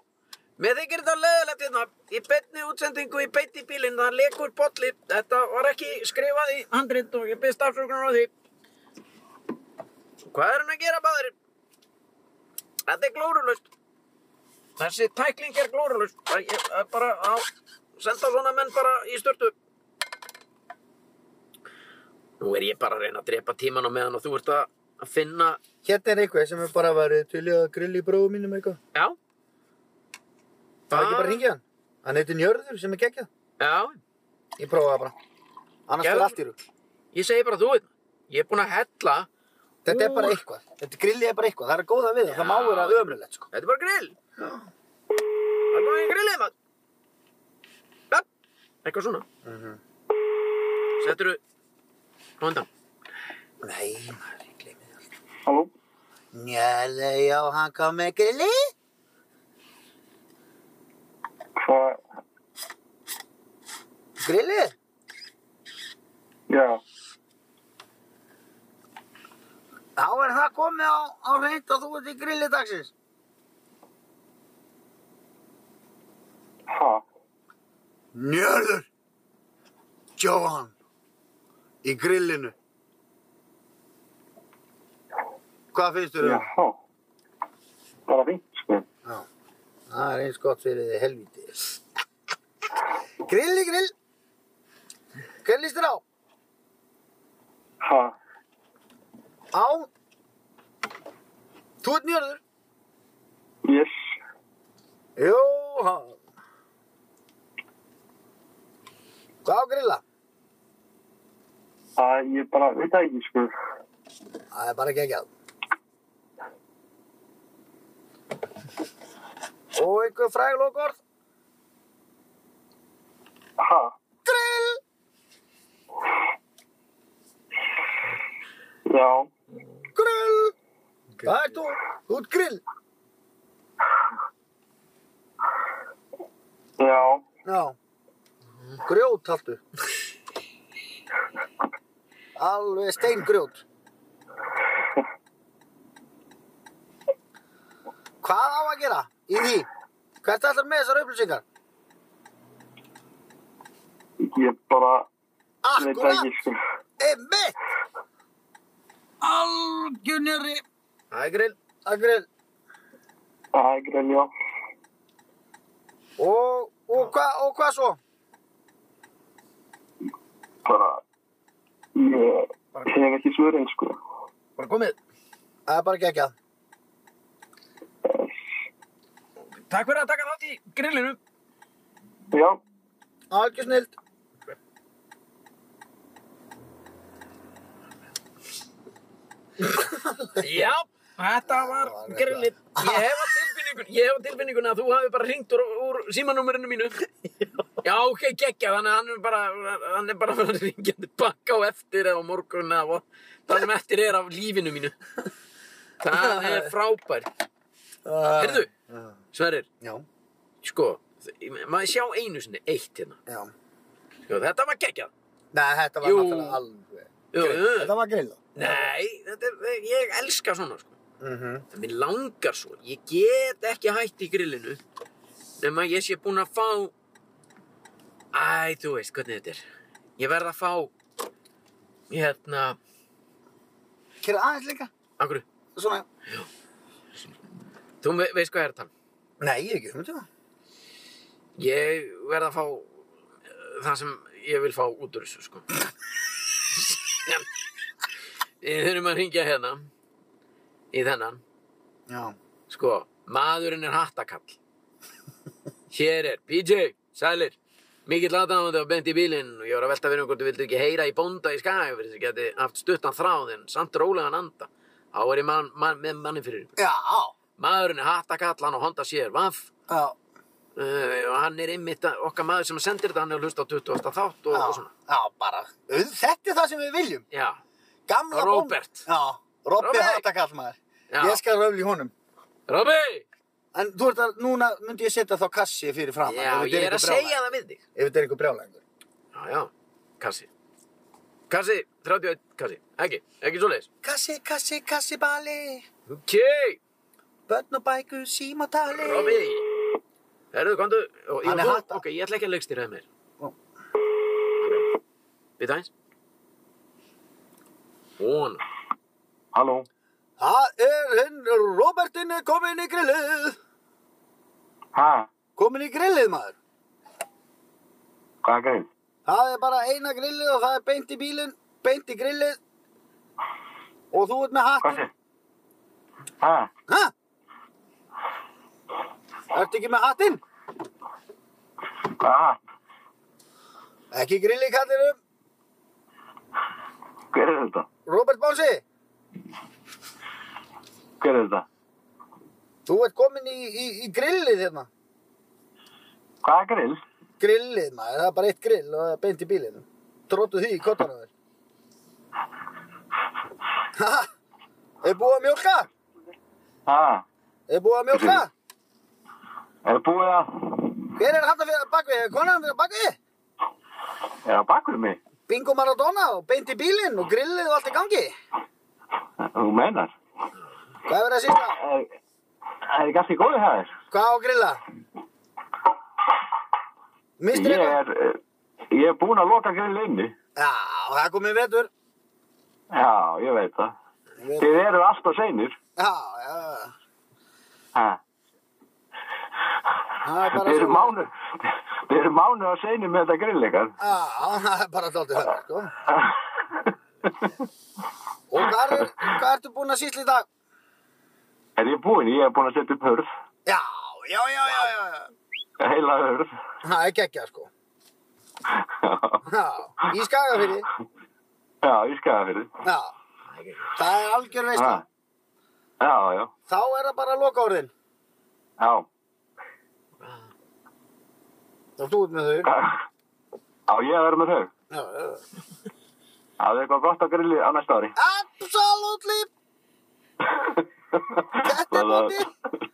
[SPEAKER 2] með þykir þetta leðilegt hérna í beinni útsendingu, í beinni bílinn það lekur bolli, þetta var ekki skrifað í handrit og ég byrst afsökunar á því hvað er hann að gera báðir þetta er glórulust þessi tækling er glórulust Það- ég- það er bara að senda svona menn bara í störtu nú er ég bara að reyna að drepa tíman á meðan og þú ert að að finna
[SPEAKER 1] Hérna er eitthvað sem er bara að vera til í að grilla í bróðu mínum eitthvað
[SPEAKER 2] Já.
[SPEAKER 1] Það er ekki bara
[SPEAKER 2] Ah.
[SPEAKER 1] að ringja hann Hann heitir Njörður sem er geggjað
[SPEAKER 2] Já,
[SPEAKER 1] Ég prófa það bara Annars
[SPEAKER 2] Gerðu-
[SPEAKER 1] fyrir allt í rugg
[SPEAKER 2] ég segi bara þú veit. Ég er búinn að hella.
[SPEAKER 1] Þetta er bara eitthvað Þetta grillið er bara eitthvað Það er góða við það Það má vera
[SPEAKER 2] Já.
[SPEAKER 1] ömrulegt sko
[SPEAKER 2] Þetta er bara grill. Já. Það er bara í grillið maður. Já, eitthvað svona.
[SPEAKER 1] Mhm.
[SPEAKER 2] Settur þú... Nú undan.
[SPEAKER 1] Nei, maður, ég gleymi það allt
[SPEAKER 5] Halló,
[SPEAKER 1] Njörður, já, hann kom með grilli
[SPEAKER 5] hvað,
[SPEAKER 1] Grillið?
[SPEAKER 5] já,
[SPEAKER 1] Þá er það komið á, á reynd að þú ert í grillið dagsins
[SPEAKER 5] ha,
[SPEAKER 1] Njörður Johan Í grillinu Hvað finnst þér
[SPEAKER 5] já,
[SPEAKER 1] um?
[SPEAKER 5] bara fínt, sko.
[SPEAKER 1] Já Það er eins gott fyrir þið helvítið Grill í grill. Hvernig líst þér á?
[SPEAKER 5] ha,
[SPEAKER 1] Á. Þú ert njörður.
[SPEAKER 5] yes,
[SPEAKER 1] Jóhann. Hvað á að grilla?
[SPEAKER 5] að ég bara veit það ekki, sko.
[SPEAKER 1] Það er bara geggjað. Og einhver fræg lokorð.
[SPEAKER 5] Ha,
[SPEAKER 1] Grill!
[SPEAKER 5] já,
[SPEAKER 1] Grill! Hvað ert þú? Þú ert grill.
[SPEAKER 5] já,
[SPEAKER 1] Já. Grjót, haltu. Alveg steingrjót. Hvað á að gera í því? Hvert ætlar með þessar upplýsingar?
[SPEAKER 5] ég bara veit það
[SPEAKER 1] Akkurat,
[SPEAKER 5] ekki, sko.
[SPEAKER 1] einmitt! Algjörnjöri
[SPEAKER 2] Það er grill.
[SPEAKER 1] Akkurat,
[SPEAKER 5] Það er grein, já.
[SPEAKER 1] og, og hvað og hva svo?
[SPEAKER 5] Bara, ég hef ekki svörin, sko.
[SPEAKER 2] Bara komið.
[SPEAKER 1] Það er bara geggjað.
[SPEAKER 2] Takk fyrir að taka þátt í grillinu.
[SPEAKER 5] Já,
[SPEAKER 1] Algjör snild.
[SPEAKER 2] Já, þetta var
[SPEAKER 1] var
[SPEAKER 2] grillin. Ég hef að tilfinningun, ég hef að tilfinningun að þú hafi bara hringt úr, úr símanúmerinu mínu. Já, ok, geggja, þannig að hann er bara, hann er bara að ringjandi bakka á eftir eða á morgun eða vor- það sem eftir er af lífinu mínu. Það er frábær.
[SPEAKER 1] Uh,
[SPEAKER 2] Heyrðu, Sverrir,
[SPEAKER 1] Já,
[SPEAKER 2] sko, þ- maður sjá einu sinni eitt hérna.
[SPEAKER 1] já.
[SPEAKER 2] Sko, þetta var geggjað.
[SPEAKER 1] Nei, þetta var
[SPEAKER 2] Jú.
[SPEAKER 1] náttúrulega alveg.
[SPEAKER 2] Jú, jú.
[SPEAKER 1] Þetta var grill.
[SPEAKER 2] Nei, þetta er, ég elska svona, sko.
[SPEAKER 1] Mm -hmm.
[SPEAKER 2] En mér langar svo, ég get ekki hætt í grillinu nema ég sé búinn að fá Æ, þú veist hvernig þetta er Ég verð að fá hérna,
[SPEAKER 1] Kera aðeins líka.
[SPEAKER 2] akkur
[SPEAKER 1] Svona.
[SPEAKER 2] þú ve veist hvað ég er að tala um.
[SPEAKER 1] Nei, ég hef ekki hugmynd um það.
[SPEAKER 2] Ég verð að fá eh, það sem ég vil fá út úr þessu sko En Við þurfum að hringja hérna í þennan
[SPEAKER 1] Já.
[SPEAKER 2] Sko, maðurinn er hattakall. Hér er PJ, sælir. Mikill aðdáðandi og bent í bílinn og ég var að velta fyrir um hvort þú vildi ekki heyra í bónda í skagi fyrir þess að geti haft stuttan þráð en samt rólegan anda. Þá er ég man, man, með manni fyrir. ykkur.
[SPEAKER 1] Já.
[SPEAKER 2] Maðurinn er hattakall, hann á Honda sér vaff
[SPEAKER 1] Já.
[SPEAKER 2] uh, og hann er einmitt að- okkar maður sem sendir þetta, hann er að hlusta á 20. þátt og,
[SPEAKER 1] Já.
[SPEAKER 2] og svona.
[SPEAKER 1] Já, bara. auð- Þetta er það sem við viljum.
[SPEAKER 2] Já,
[SPEAKER 1] Gamla bónd-
[SPEAKER 2] Robert.
[SPEAKER 1] Já. Robby
[SPEAKER 2] Robby.
[SPEAKER 1] Hattakall maður.
[SPEAKER 2] já.
[SPEAKER 1] Ég skal röfli honum.
[SPEAKER 2] Robby!
[SPEAKER 1] En þú ert að, núna myndi ég setja þá kassi fyrir fram.
[SPEAKER 2] Já, ég er að segja það við þig.
[SPEAKER 1] Ef þetta er eitthvað brjálæðingur.
[SPEAKER 2] Já, já, kassi. Kassi, 31, kassi. Ekki, ekki svo leiðis.
[SPEAKER 1] Kassi, kassi, kassi bali.
[SPEAKER 2] Ok,
[SPEAKER 1] Börn og bækur, símatali.
[SPEAKER 2] Robby, herruðu, komdu og,
[SPEAKER 1] Hann
[SPEAKER 2] ég,
[SPEAKER 1] er
[SPEAKER 2] þú,
[SPEAKER 1] hatta.
[SPEAKER 2] Ok, ég ætla ekki að leikstýra það meir
[SPEAKER 1] Ó.
[SPEAKER 2] Ok, Býta eins Svona
[SPEAKER 5] halló,
[SPEAKER 1] Það er hinn, Robertinn er kominn í grillið.
[SPEAKER 5] ha,
[SPEAKER 1] Kominn í grillið, maður.
[SPEAKER 5] hvað er grein?
[SPEAKER 1] Það er bara eina grillið og það er beint í bílinn, beint í grillið. Og þú ert með
[SPEAKER 5] Hvað
[SPEAKER 1] hattinn.
[SPEAKER 5] er? Ha,
[SPEAKER 1] Hæ? Ertu ekki með hattinn?
[SPEAKER 5] hvað er hatt?
[SPEAKER 1] Ekki grillið, kallirum.
[SPEAKER 5] Hver er þetta?
[SPEAKER 1] Robert Bálsi,
[SPEAKER 5] Hver er þetta?
[SPEAKER 1] þú ert kominn í, í, í grillið hérna.
[SPEAKER 5] Hvað er grill?
[SPEAKER 1] Grillið, maður. Það er bara eitt grill og það er beint í bílinn. Tróttu því í kottanum þér. Hæ? Er búið að mjólka?
[SPEAKER 5] Ha,
[SPEAKER 1] Er búið að mjólka?
[SPEAKER 5] er búið að,
[SPEAKER 1] Hver er hann fyrir bakvið? Er konan fyrir bakvið?
[SPEAKER 5] er það bakur mig?
[SPEAKER 1] Bingo Maradona og beint í bílinn og grillið og allt í gangi.
[SPEAKER 5] Þú meinar?
[SPEAKER 1] Hvað er verið að sýsla?
[SPEAKER 5] Er, er ekki allt í góðu það þér?
[SPEAKER 1] Hvað á að grilla? Mistur
[SPEAKER 5] Ég
[SPEAKER 1] eitthvað?
[SPEAKER 5] er, eh, ég er búinn að loka grill inni.
[SPEAKER 1] Já, það er komið vetur.
[SPEAKER 5] Já, ég veit það.
[SPEAKER 1] Já,
[SPEAKER 5] Þið eru alltaf seinir.
[SPEAKER 1] já,
[SPEAKER 5] Ha.
[SPEAKER 1] það er bara
[SPEAKER 5] Þið eru
[SPEAKER 1] svona.
[SPEAKER 5] mánu, Við erum mánuð að segja með þetta grillleikar.
[SPEAKER 1] Já, það er bara dálítið höfn, sko. Og hvað, er, hvað ertu búinn að sýsla í dag?
[SPEAKER 5] er ég búinn? Ég er búinn að setja upp hörð.
[SPEAKER 1] Já, já, já, já, já, já.
[SPEAKER 5] Heila hörð.
[SPEAKER 1] Það er geggja, sko. Já, í skagafyrði.
[SPEAKER 5] já, ég skaða fyrir.
[SPEAKER 1] Já, það er algjör veist.
[SPEAKER 5] Já, já,
[SPEAKER 1] Þá er það bara loka orðin.
[SPEAKER 5] já.
[SPEAKER 1] Og þú ert með þau.
[SPEAKER 5] Já, ég verður með þau.
[SPEAKER 1] Já, já, já.
[SPEAKER 5] Það er eitthvað gott að grilli á næsta ári.
[SPEAKER 1] Absolutely. Þetta er
[SPEAKER 5] bóti.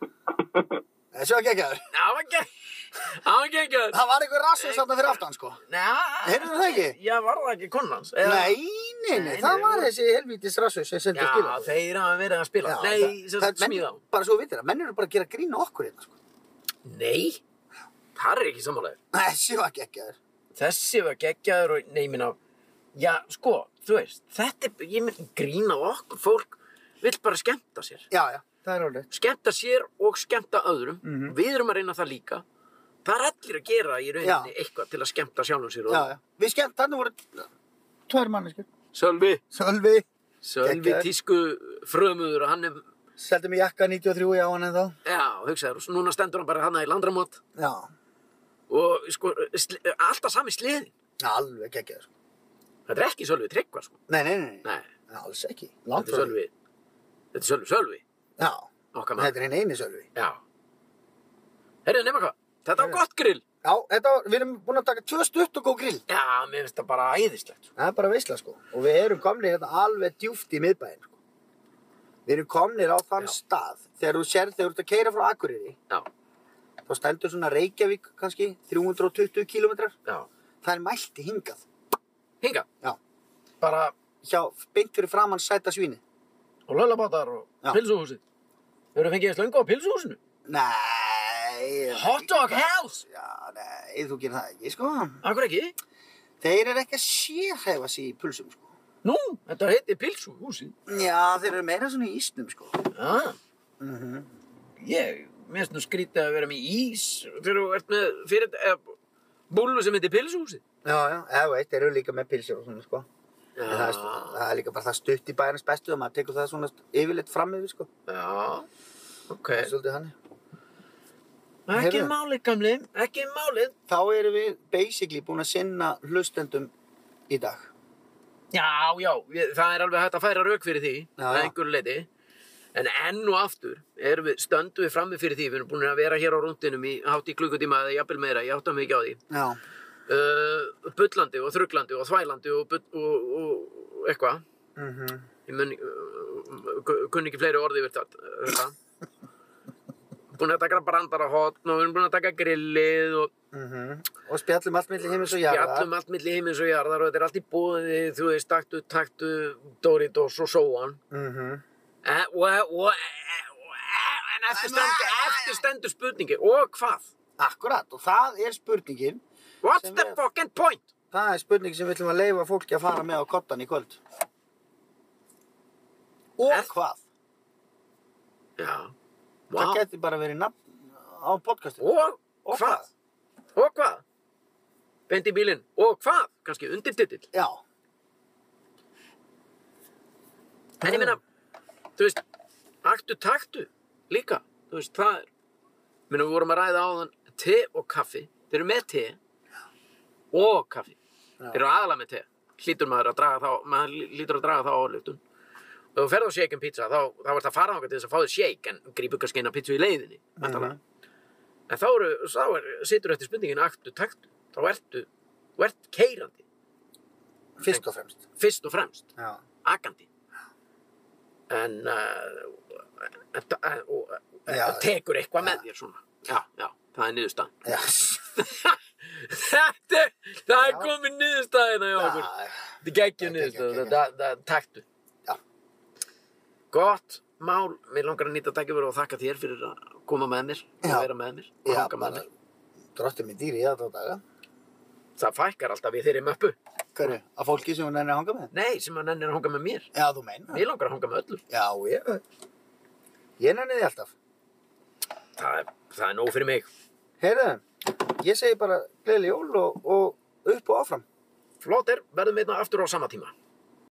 [SPEAKER 1] Þessu var geggjaður.
[SPEAKER 2] Það var gegn... Það var gegn...
[SPEAKER 1] Það var einhver rassur þarna fyrir aftan, sko.
[SPEAKER 2] Nei,
[SPEAKER 1] Heyrðu það ekki?
[SPEAKER 2] ég var það ekki konans.
[SPEAKER 1] Nei, nei, nei,
[SPEAKER 2] Nei,
[SPEAKER 1] það
[SPEAKER 2] nei,
[SPEAKER 1] var
[SPEAKER 2] nei.
[SPEAKER 1] þessi helvítis rassur sem
[SPEAKER 2] Já,
[SPEAKER 1] sendið skilja.
[SPEAKER 2] þeir hafa verið að spila. Nei, sem sagt, smíða. á.
[SPEAKER 1] Bara svo við þeirra, menn eru bara að gera grína okkur hérna, sko.
[SPEAKER 2] Nei, það er ekki samanlega.
[SPEAKER 1] Þessi var geggjaður.
[SPEAKER 2] þessi var geggjaður og nei, ég minna, já, sko, þú veist, þetta er, ég myndi grína á okkur, fólk vill bara skemmta sér.
[SPEAKER 1] Já, já, það er orðið.
[SPEAKER 2] Skemmta sér og skemmta öðrum.
[SPEAKER 1] Mhm.
[SPEAKER 2] Við erum að reyna það líka. Það er allir að gera í rauninni eitthvað til að skemmta sjálfum sér. og-
[SPEAKER 1] Já, já. Við skemmt, þarna voru tvær manneskur.
[SPEAKER 2] Sölvi,
[SPEAKER 1] Sölvi.
[SPEAKER 2] Sölvi
[SPEAKER 1] Geggjaður.
[SPEAKER 2] tísku frömuður og hann er,
[SPEAKER 1] Seldi mig jakka 93 á hann en þá.
[SPEAKER 2] já, hugsaður, og svo núna stendur hann bara hann í landramót
[SPEAKER 1] Já,
[SPEAKER 2] og sko, sli, alltaf sami sliðin.
[SPEAKER 1] alveg geggjaður. sko.
[SPEAKER 2] Þetta er ekki Sölvi Tryggva, sko.
[SPEAKER 1] Nei, nei, nei, nei.
[SPEAKER 2] Nei,
[SPEAKER 1] Alls ekki.
[SPEAKER 2] þetta
[SPEAKER 1] Langt
[SPEAKER 2] er
[SPEAKER 1] frá því.
[SPEAKER 2] Sölvi, þetta er Sölvi, Sölvi,
[SPEAKER 1] Já,
[SPEAKER 2] okkar maður.
[SPEAKER 1] þetta er hinn eini Sölvi.
[SPEAKER 2] Já. Herru, nema hvað? Þetta var
[SPEAKER 1] Heyrðu.
[SPEAKER 2] gott grill.
[SPEAKER 1] Já, þetta var, við erum búin að taka tvö stutt og góð grill.
[SPEAKER 2] Já, mér finnst það bara æðislegt.
[SPEAKER 1] Það er bara veisla sko. Og við erum komnir hérna alveg djúft í miðbæinn. Sko. Við erum komnir á þann
[SPEAKER 2] Já.
[SPEAKER 1] stað. Þegar þú sér, þegar þú ert að keira frá Akureyri,
[SPEAKER 2] Já,
[SPEAKER 1] þá stendur svona Reykjavík kannski, 320 kílómetrar.
[SPEAKER 2] já.
[SPEAKER 1] Það er mælti hingað.
[SPEAKER 2] Hinga.
[SPEAKER 1] Já.
[SPEAKER 2] Bara
[SPEAKER 1] Hjá, beint fyrir framann sæta svíni.
[SPEAKER 2] og löllabátar og
[SPEAKER 1] Já.
[SPEAKER 2] pilsuhúsið. Þau eru fengið að slöngu á pilsuhúsinu.
[SPEAKER 1] Nei.
[SPEAKER 2] Hot dog house!
[SPEAKER 1] Já, nei, þú gerir það ekki, sko.
[SPEAKER 2] Akkur ekki?
[SPEAKER 1] Þeir eru ekki að sérhefa sér í pulsum, sko.
[SPEAKER 2] Nú, þetta heiti pilsuhúsið.
[SPEAKER 1] Já, þeir eru meira svona í ísnum, sko.
[SPEAKER 2] Já,
[SPEAKER 1] Mm
[SPEAKER 2] Mhm.
[SPEAKER 1] -hmm.
[SPEAKER 2] ég, mér finnst nú skrítið að vera með ís þegar þú ert með fyrir, eða, búlu sem heiti pilsuhúsið.
[SPEAKER 1] Já, já, eða veit, þeir eru líka með pilsur og svona, sko. En Það, er, stu- það er líka bara það stutt í bæjarnas bestu og maður tekur það svona st- yfirleitt fram yfir, sko.
[SPEAKER 2] Já, ok.
[SPEAKER 1] Það er Svolítið hann.
[SPEAKER 2] Ekki
[SPEAKER 1] Heyrðu.
[SPEAKER 2] máli, gamli, ekki máli.
[SPEAKER 1] Þá erum við basically búin að sinna hlustendum í dag.
[SPEAKER 2] Já, já, við, það er alveg hægt að færa rauk fyrir því
[SPEAKER 1] Já,
[SPEAKER 2] að
[SPEAKER 1] já.
[SPEAKER 2] einhverju leiti en enn og aftur erum við, stöndum við frammi fyrir því við erum búin að vera hér á rúndinum í hátt í klukkutíma eða jafnvel meira, ég átta mig ekki á því
[SPEAKER 1] Já,
[SPEAKER 2] uh, Bullandi og þruglandi og þvælandi og, bull- og, og, og eitthvað
[SPEAKER 1] mm
[SPEAKER 2] ég mun, uh, ku- kunni ekki fleiri orði yfir þetta þetta. búin að taka brandara hotn og við erum búin að taka grillið og
[SPEAKER 1] mhm. og spjallum allt milli heimins og jarðar.
[SPEAKER 2] Spjallum allt milli heimins og jarðar og þetta er allt í búði, þú veist, taktu, taktu, Doritos og so on.
[SPEAKER 1] Mm -hmm.
[SPEAKER 2] Eh, og, og, og, en eftir stendur, eftir stendur spurningi og hvað?
[SPEAKER 1] Akkurat, og það er spurningin.
[SPEAKER 2] What's
[SPEAKER 1] Sem
[SPEAKER 2] the
[SPEAKER 1] er-
[SPEAKER 2] fucking point?
[SPEAKER 1] Það er spurningin sem við ætlum að leifa fólki að fara með á kottan í kvöld. Og
[SPEAKER 2] Er-
[SPEAKER 1] hvað?
[SPEAKER 2] Já,
[SPEAKER 1] Það
[SPEAKER 2] wow.
[SPEAKER 1] geti bara verið nafn á podcastinu.
[SPEAKER 2] og, hvað? og hvað? Beint í bílinn, og hvað? kannski undirtitill,
[SPEAKER 1] Já,
[SPEAKER 2] en ég meina þú veist, aktu taktu líka, þú veist, það er ég meina, við vorum að ræða áðan te og kaffi, þeir eru með te og kaffi
[SPEAKER 1] Já.
[SPEAKER 2] þeir eru aðalega með te hlýtur maður að draga þá maður hlýtur að draga þá álöftun og þú ferð á shake and pizza þá, þá ert að fara þangað til þess að fá þér shake en grípur kannski eina pizza í leiðinni mm en þá, eru, þá er, situr eftir spurningin aktu taktu, þá ertu þú ert keirandi,
[SPEAKER 1] fyrst og fremst.
[SPEAKER 2] fyrst og fremst
[SPEAKER 1] Já.
[SPEAKER 2] akandi en uh, þetta, uh, og, uh,
[SPEAKER 1] Já.
[SPEAKER 2] tekur eitthvað með þér svona já, já, það er niðurstaðan
[SPEAKER 1] Já,
[SPEAKER 2] þetta, er- það er
[SPEAKER 1] Já.
[SPEAKER 2] komið niðurstaðina hjá okkur
[SPEAKER 1] Ah, já.
[SPEAKER 2] Þetta er geggjum
[SPEAKER 1] Þetta er
[SPEAKER 2] niðurstöðu,
[SPEAKER 1] geggjum.
[SPEAKER 2] það- það taktu.
[SPEAKER 1] Já.
[SPEAKER 2] Gott mál, mér langar að nýta tækifæri og þakka þér fyrir að koma með mér
[SPEAKER 1] Já.
[SPEAKER 2] og vera með mér og
[SPEAKER 1] Já,
[SPEAKER 2] hanga með
[SPEAKER 1] bara-
[SPEAKER 2] mér.
[SPEAKER 1] Drottir með dýri í það þá daga.
[SPEAKER 2] Það fækkar alltaf við þeirri möppu.
[SPEAKER 1] Hverju? Að fólki sem hún enni að hanga með?
[SPEAKER 2] Nei, sem að nennir að hanga með mér.
[SPEAKER 1] Já, þú meinar.
[SPEAKER 2] Mér langar að hanga með öllum.
[SPEAKER 1] Já, ég... Ég nenni því alltaf.
[SPEAKER 2] Það er, það er nóg fyrir mig.
[SPEAKER 1] Heyrðu,
[SPEAKER 6] ég segi bara gleðileg jól og, og upp og áfram.
[SPEAKER 1] Flott er, verðum einna aftur á sama tíma.